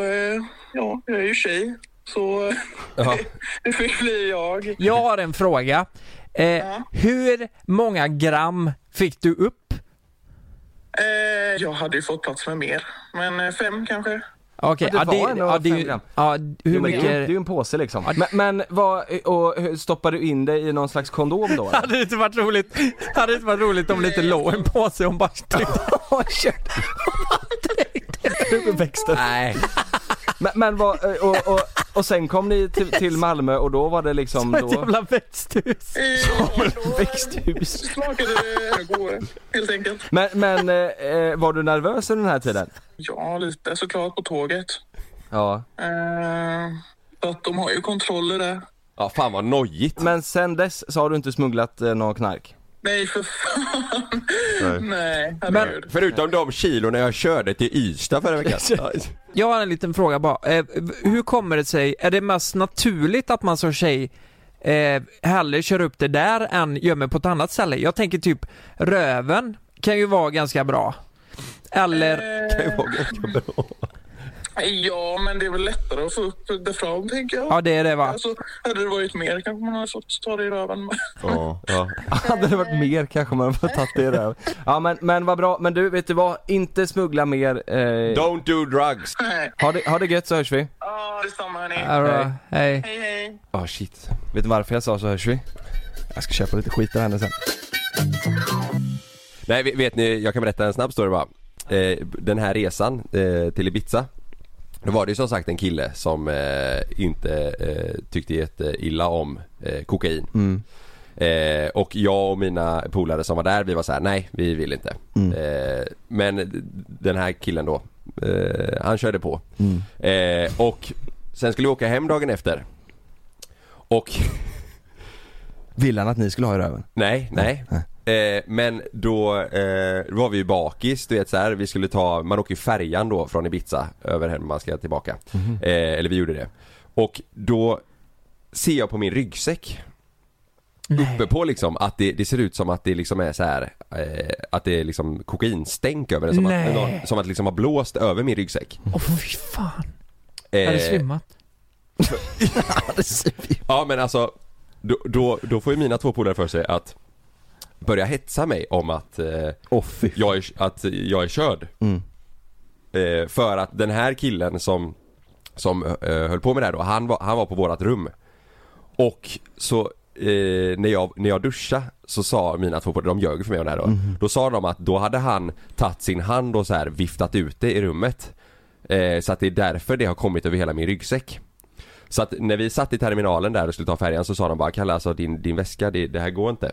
eh, ja, jag är ju tjej. Så
Ja.
det fick bli jag.
Jag har en fråga. Eh, Hur många gram fick du upp?
Eh, Jag hade ju fått plats med mer. Men eh, fem kanske.
Okej,
Ja, det var ändå
ja, det är
fem
ju-
gram.
ja, hur
Jo, men Det är ju- det är
mycket...
ju en påse liksom. Men, men vad, och hur- stoppar du in det i någon slags kondom då? eller?
Hade det inte varit roligt, hade det inte varit roligt om lite låg en påse om bara
Har kört växten.
Nej.
Men, men vad, eh, och, och, och sen kom ni till, till Malmö och då var det liksom
ett
då...
jävla växthus.
Växthus.
Smakade det gode, helt enkelt.
Men, men eh, eh, var du nervös under den här tiden?
Ja, lite såklart på tåget.
Ja.
Eh, så att de har ju kontroller där.
Ja, fan vad nojigt.
Men sen dess så har du inte smugglat eh, någon knark?
Nej, för fan. Nej, herregud.
Förutom de kilorna jag körde till Ystad förra veckan.
Jag har en liten fråga bara. Eh, hur kommer det sig, är det mest naturligt att man som tjej eh, hellre kör upp det där än gömmer på ett annat ställe? Jag tänker typ röven kan ju vara ganska bra. Eller,
Det var ganska bra.
Ja, men det är väl lättare att få upp det fram, tänker jag.
ja det är det va?
Alltså, hade det varit mer kanske man hade fått ta det i röven.
Ja. Ja.
Hade det varit mer kanske man hade tagit det där. Ja men, men vad bra, men du vet du vad? Inte smuggla mer. Eh,
Don't do drugs.
Nej.
ha, det, ha det gött så hörs vi.
Ja, detsamma hörni.
Hej. Hej.
Hej, hej.
Ah shit. Vet du varför jag sa så hörs vi? Jag ska köpa lite skit av henne sen.
Nej vet- vet ni, jag kan berätta en snabb story bara. Eh, Den här resan eh, till Ibiza Då var det ju som sagt en kille som eh, inte eh, tyckte jätteilla om eh, kokain Eh, och jag och mina polare som var där, vi var så här: nej vi vill inte. Eh, men den här killen då, eh, han körde på. Eh, och sen skulle vi åka hem dagen efter. Och
Vill han att ni skulle ha i röven?
Nej, nej. Eh, men då eh, var vi ju bakis, du vet så här, vi skulle ta, man åker ju färjan då från Ibiza över hem man ska tillbaka.
Mhm.
Eh, eller vi gjorde det. Och då ser jag på min ryggsäck uppe på liksom att det, det ser ut som att det liksom är så här eh, att det är liksom kokainstänk över den som
Nej.
att, någon, som att liksom har blåst över min ryggsäck.
Åh fy fan. Jag hade
Eh,
svimmat.
ja men alltså, då, då, då får ju mina två polare för sig att börja hetsa mig om att eh,
Åh fy. Mm.
jag är, att jag är körd. Eh, för att den här killen som, som eh, höll på med det här då, han var, han var på vårat rum. Och så eh, när, jag, när jag duschade så sa mina två polare, de ljög för mig om det här då.
Mhm.
Då sa de att då hade han tagit sin hand och så här viftat ut det i rummet. Eh, så att det är därför det har kommit över hela min ryggsäck. Så att när vi satt i terminalen där och skulle ta färjan så sa de bara Kalle alltså din, din väska, det, det här går inte.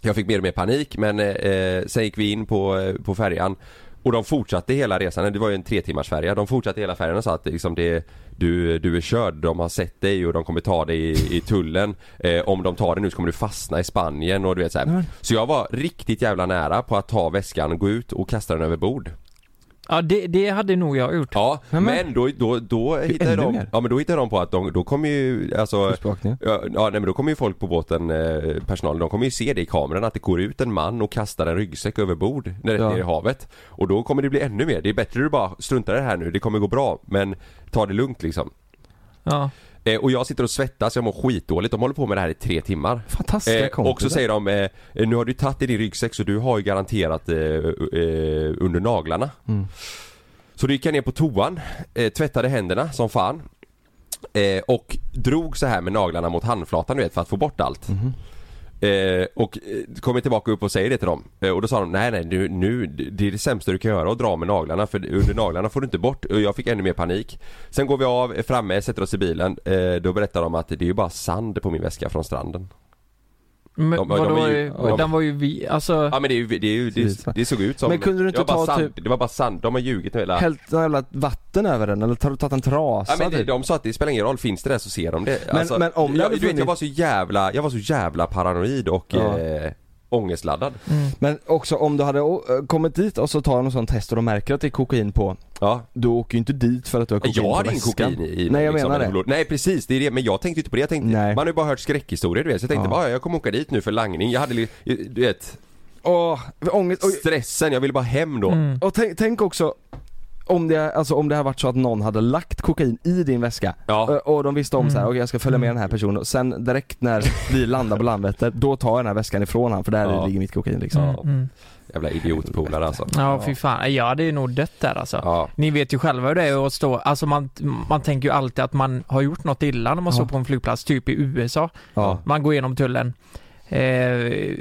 Jag fick mer och mer panik men eh, eh, sen gick vi in på, eh, på färjan och de fortsatte hela resan, det var ju en tre timmars färja. De fortsatte hela färjan och sa att liksom det, du, du är körd, de har sett dig och de kommer ta dig i, i tullen. Eh, om de tar dig nu så kommer du fastna i Spanien och du vet så, här. så jag var riktigt jävla nära på att ta väskan, gå ut och kasta den över bord.
Ja det, det hade nog jag gjort.
Ja,
men-
men då, då, då hittade
ännu
de,
mer.
ja men då hittade de på att de, då kommer ju alltså
Kustbevakningen.
Ja, ja nej, men då kommer ju folk på båten, eh, personalen, de kommer ju se det i kameran att det går ut en man och kastar en ryggsäck över bord när det
Ja.
ner i havet. Och då kommer det bli ännu mer, det är bättre du bara struntar i det här nu, det kommer gå bra men ta det lugnt liksom.
Ja.
Eh, och jag sitter och svettas, jag mår skitdåligt, de håller på med det här i tre timmar.
Fantastiska
Eh, och så
kompisar.
säger de, eh, nu har du tagit i din ryggsäck så du har ju garanterat eh, eh, under naglarna. Så då gick jag ner på toan, eh, tvättade händerna som fan. Eh, och drog så här med naglarna mot handflatan du vet för att få bort allt. Eh, och eh, kommer tillbaka upp och säger det till dem. Eh, och då sa de nej nej nu, nu, det är det sämsta du kan göra att dra med naglarna för under naglarna får du inte bort. Och jag fick ännu mer panik. Sen går vi av, är framme, sätter oss i bilen. Eh, då berättar de att det är ju bara sand på min väska från stranden.
Men
de- de är
vadå,
ju- de-
den var ju vi, alltså.
Ja men det, är ju- det, är ju- det, det såg ut som...
Men kunde du inte
det var bara
ta
typ-
sand, Det var bara sand, de har ljugit hela...
Hällt något jävla vatten över den eller tar du tagit en trasa
Ja, men det,
typ?
de sa att det spelar ingen roll, finns det där så ser de det. Alltså,
Men- men om det
jag,
hade
du vet, jag
funnits-
var så jävla, jag var så jävla paranoid och
Ja. Mm.
eh, ångestladdad.
Men också om du hade å- eh, kommit dit och så tar de en sån test och de märker att det är kokain på
Ja.
Du åker ju inte dit för att du har kokain
Jag
på
hade ingen
väskan.
kokain i
Nej jag
liksom,
menar
eller
det
blod. Nej precis, det är det. Men jag tänkte ju inte på det. Jag tänkte,
Nej.
man har ju bara hört skräckhistorier du vet. Så jag tänkte
Ja.
bara, "Ah, jag kommer åka dit nu för langning. Jag hade li- du vet,
Åh, Mm. ångest, och,
stressen, jag ville bara hem då.
Mm.
och tänk, tänk också om det, alltså om det hade varit så att någon hade lagt kokain i din väska
Ja.
Ö, och de visste om
Mm.
så här, okej jag ska följa med den här personen och sen direkt när vi landar på Landvetter, då tar jag den här väskan ifrån han för där
Ja.
ligger mitt kokain liksom
Ja.
Mm.
Jävla idiotpolare alltså.
Ja fy fan, jag hade ju nog dött där alltså.
Ja.
Ni vet ju själva hur det är att stå, alltså man, man tänker ju alltid att man har gjort något illa när man står på en flygplats, typ i USA.
Ja.
Man går igenom tullen. Eh,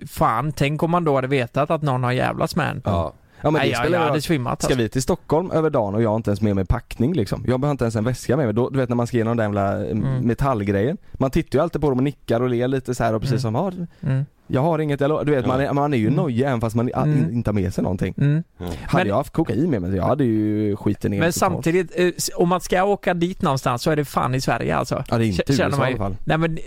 fan, tänk om man då hade vetat att någon har jävlats med en.
Ja.
Ja men
Nej,
det
jag,
spelar
jag
ingen
hade
roll.
svimmat
Ska
alltså.
vi till Stockholm över dagen och jag har inte ens med mig packning liksom. Jag behöver inte ens en väska med mig. Då, du vet när man ska igenom den där mm. metallgrejen. Man tittar ju alltid på dem och nickar och ler lite så här och precis som ah,
Mm.
jag har inget, jag lo-" du vet man, är, man är ju nojig även fast man i-
Mm.
inte har med sig någonting.
Mm.
Hade
Men-
jag haft kokain med mig så jag hade ju skiten ner
Men
totalt.
samtidigt, eh, s- om man ska åka dit någonstans så är det fan i Sverige alltså.
Ja det är inte
K- känner
USA
man
i
ju-
alla fall.
Nej men, eh,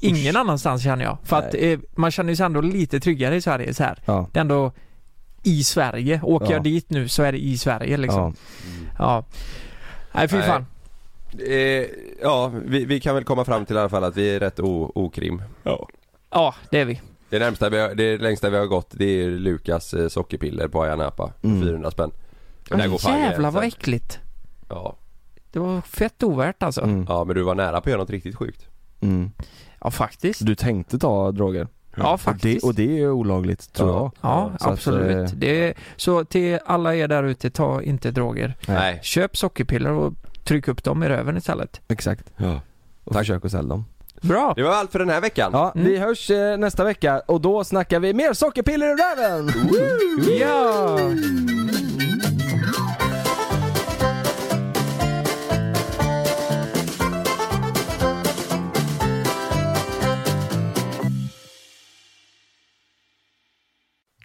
ingen annanstans känner jag. För att eh, man känner sig ändå lite tryggare i Sverige så här.
Ja.
Det är ändå i Sverige. Åker
Ja.
jag dit nu så är det i Sverige liksom. Ja.
Ja.
Nej fy
Nej.
fan.
Eh, ja, vi, vi kan väl komma fram till i alla fall att vi är rätt o- okrim.
Ja, det är vi.
Det närmsta vi har, det längsta vi har gått det är Lukas eh, sockerpiller på Ayia Napa,
Mm.
400 spänn. Och där går
Oh,
fan
jävlar
gränsen.
vad äckligt.
Ja.
Det var fett ovärt alltså.
Mm.
ja, men du var nära på att göra något riktigt sjukt.
Mm.
Ja faktiskt.
Du tänkte ta droger?
Ja
Och det,
faktiskt.
och det är ju olagligt tror
Ja.
jag.
Ja,
Så att,
absolut.
eh,
det är, så till alla er där ute, ta inte droger.
Nej.
Nej.
Köp sockerpiller och tryck upp dem i röven istället.
Exakt.
Ja.
Och försök att sälja dem.
Bra!
Det var allt för den här veckan.
Ja, vi hörs eh, nästa vecka och då snackar vi mer sockerpiller ur röven!
Ja!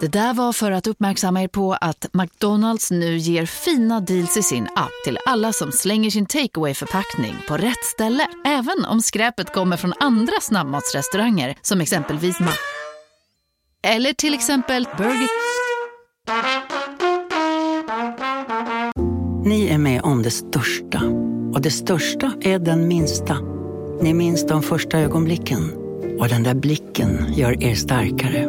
Det där var för att uppmärksamma er på att McDonalds nu ger fina deals i sin app till alla som slänger sin takeaway förpackning på rätt ställe. Även om skräpet kommer från andra snabbmatsrestauranger som exempelvis Ma... Eller till exempel Burger...
Ni är med om det största. Och det största är den minsta. Ni minns de första ögonblicken. Och den där blicken gör er starkare.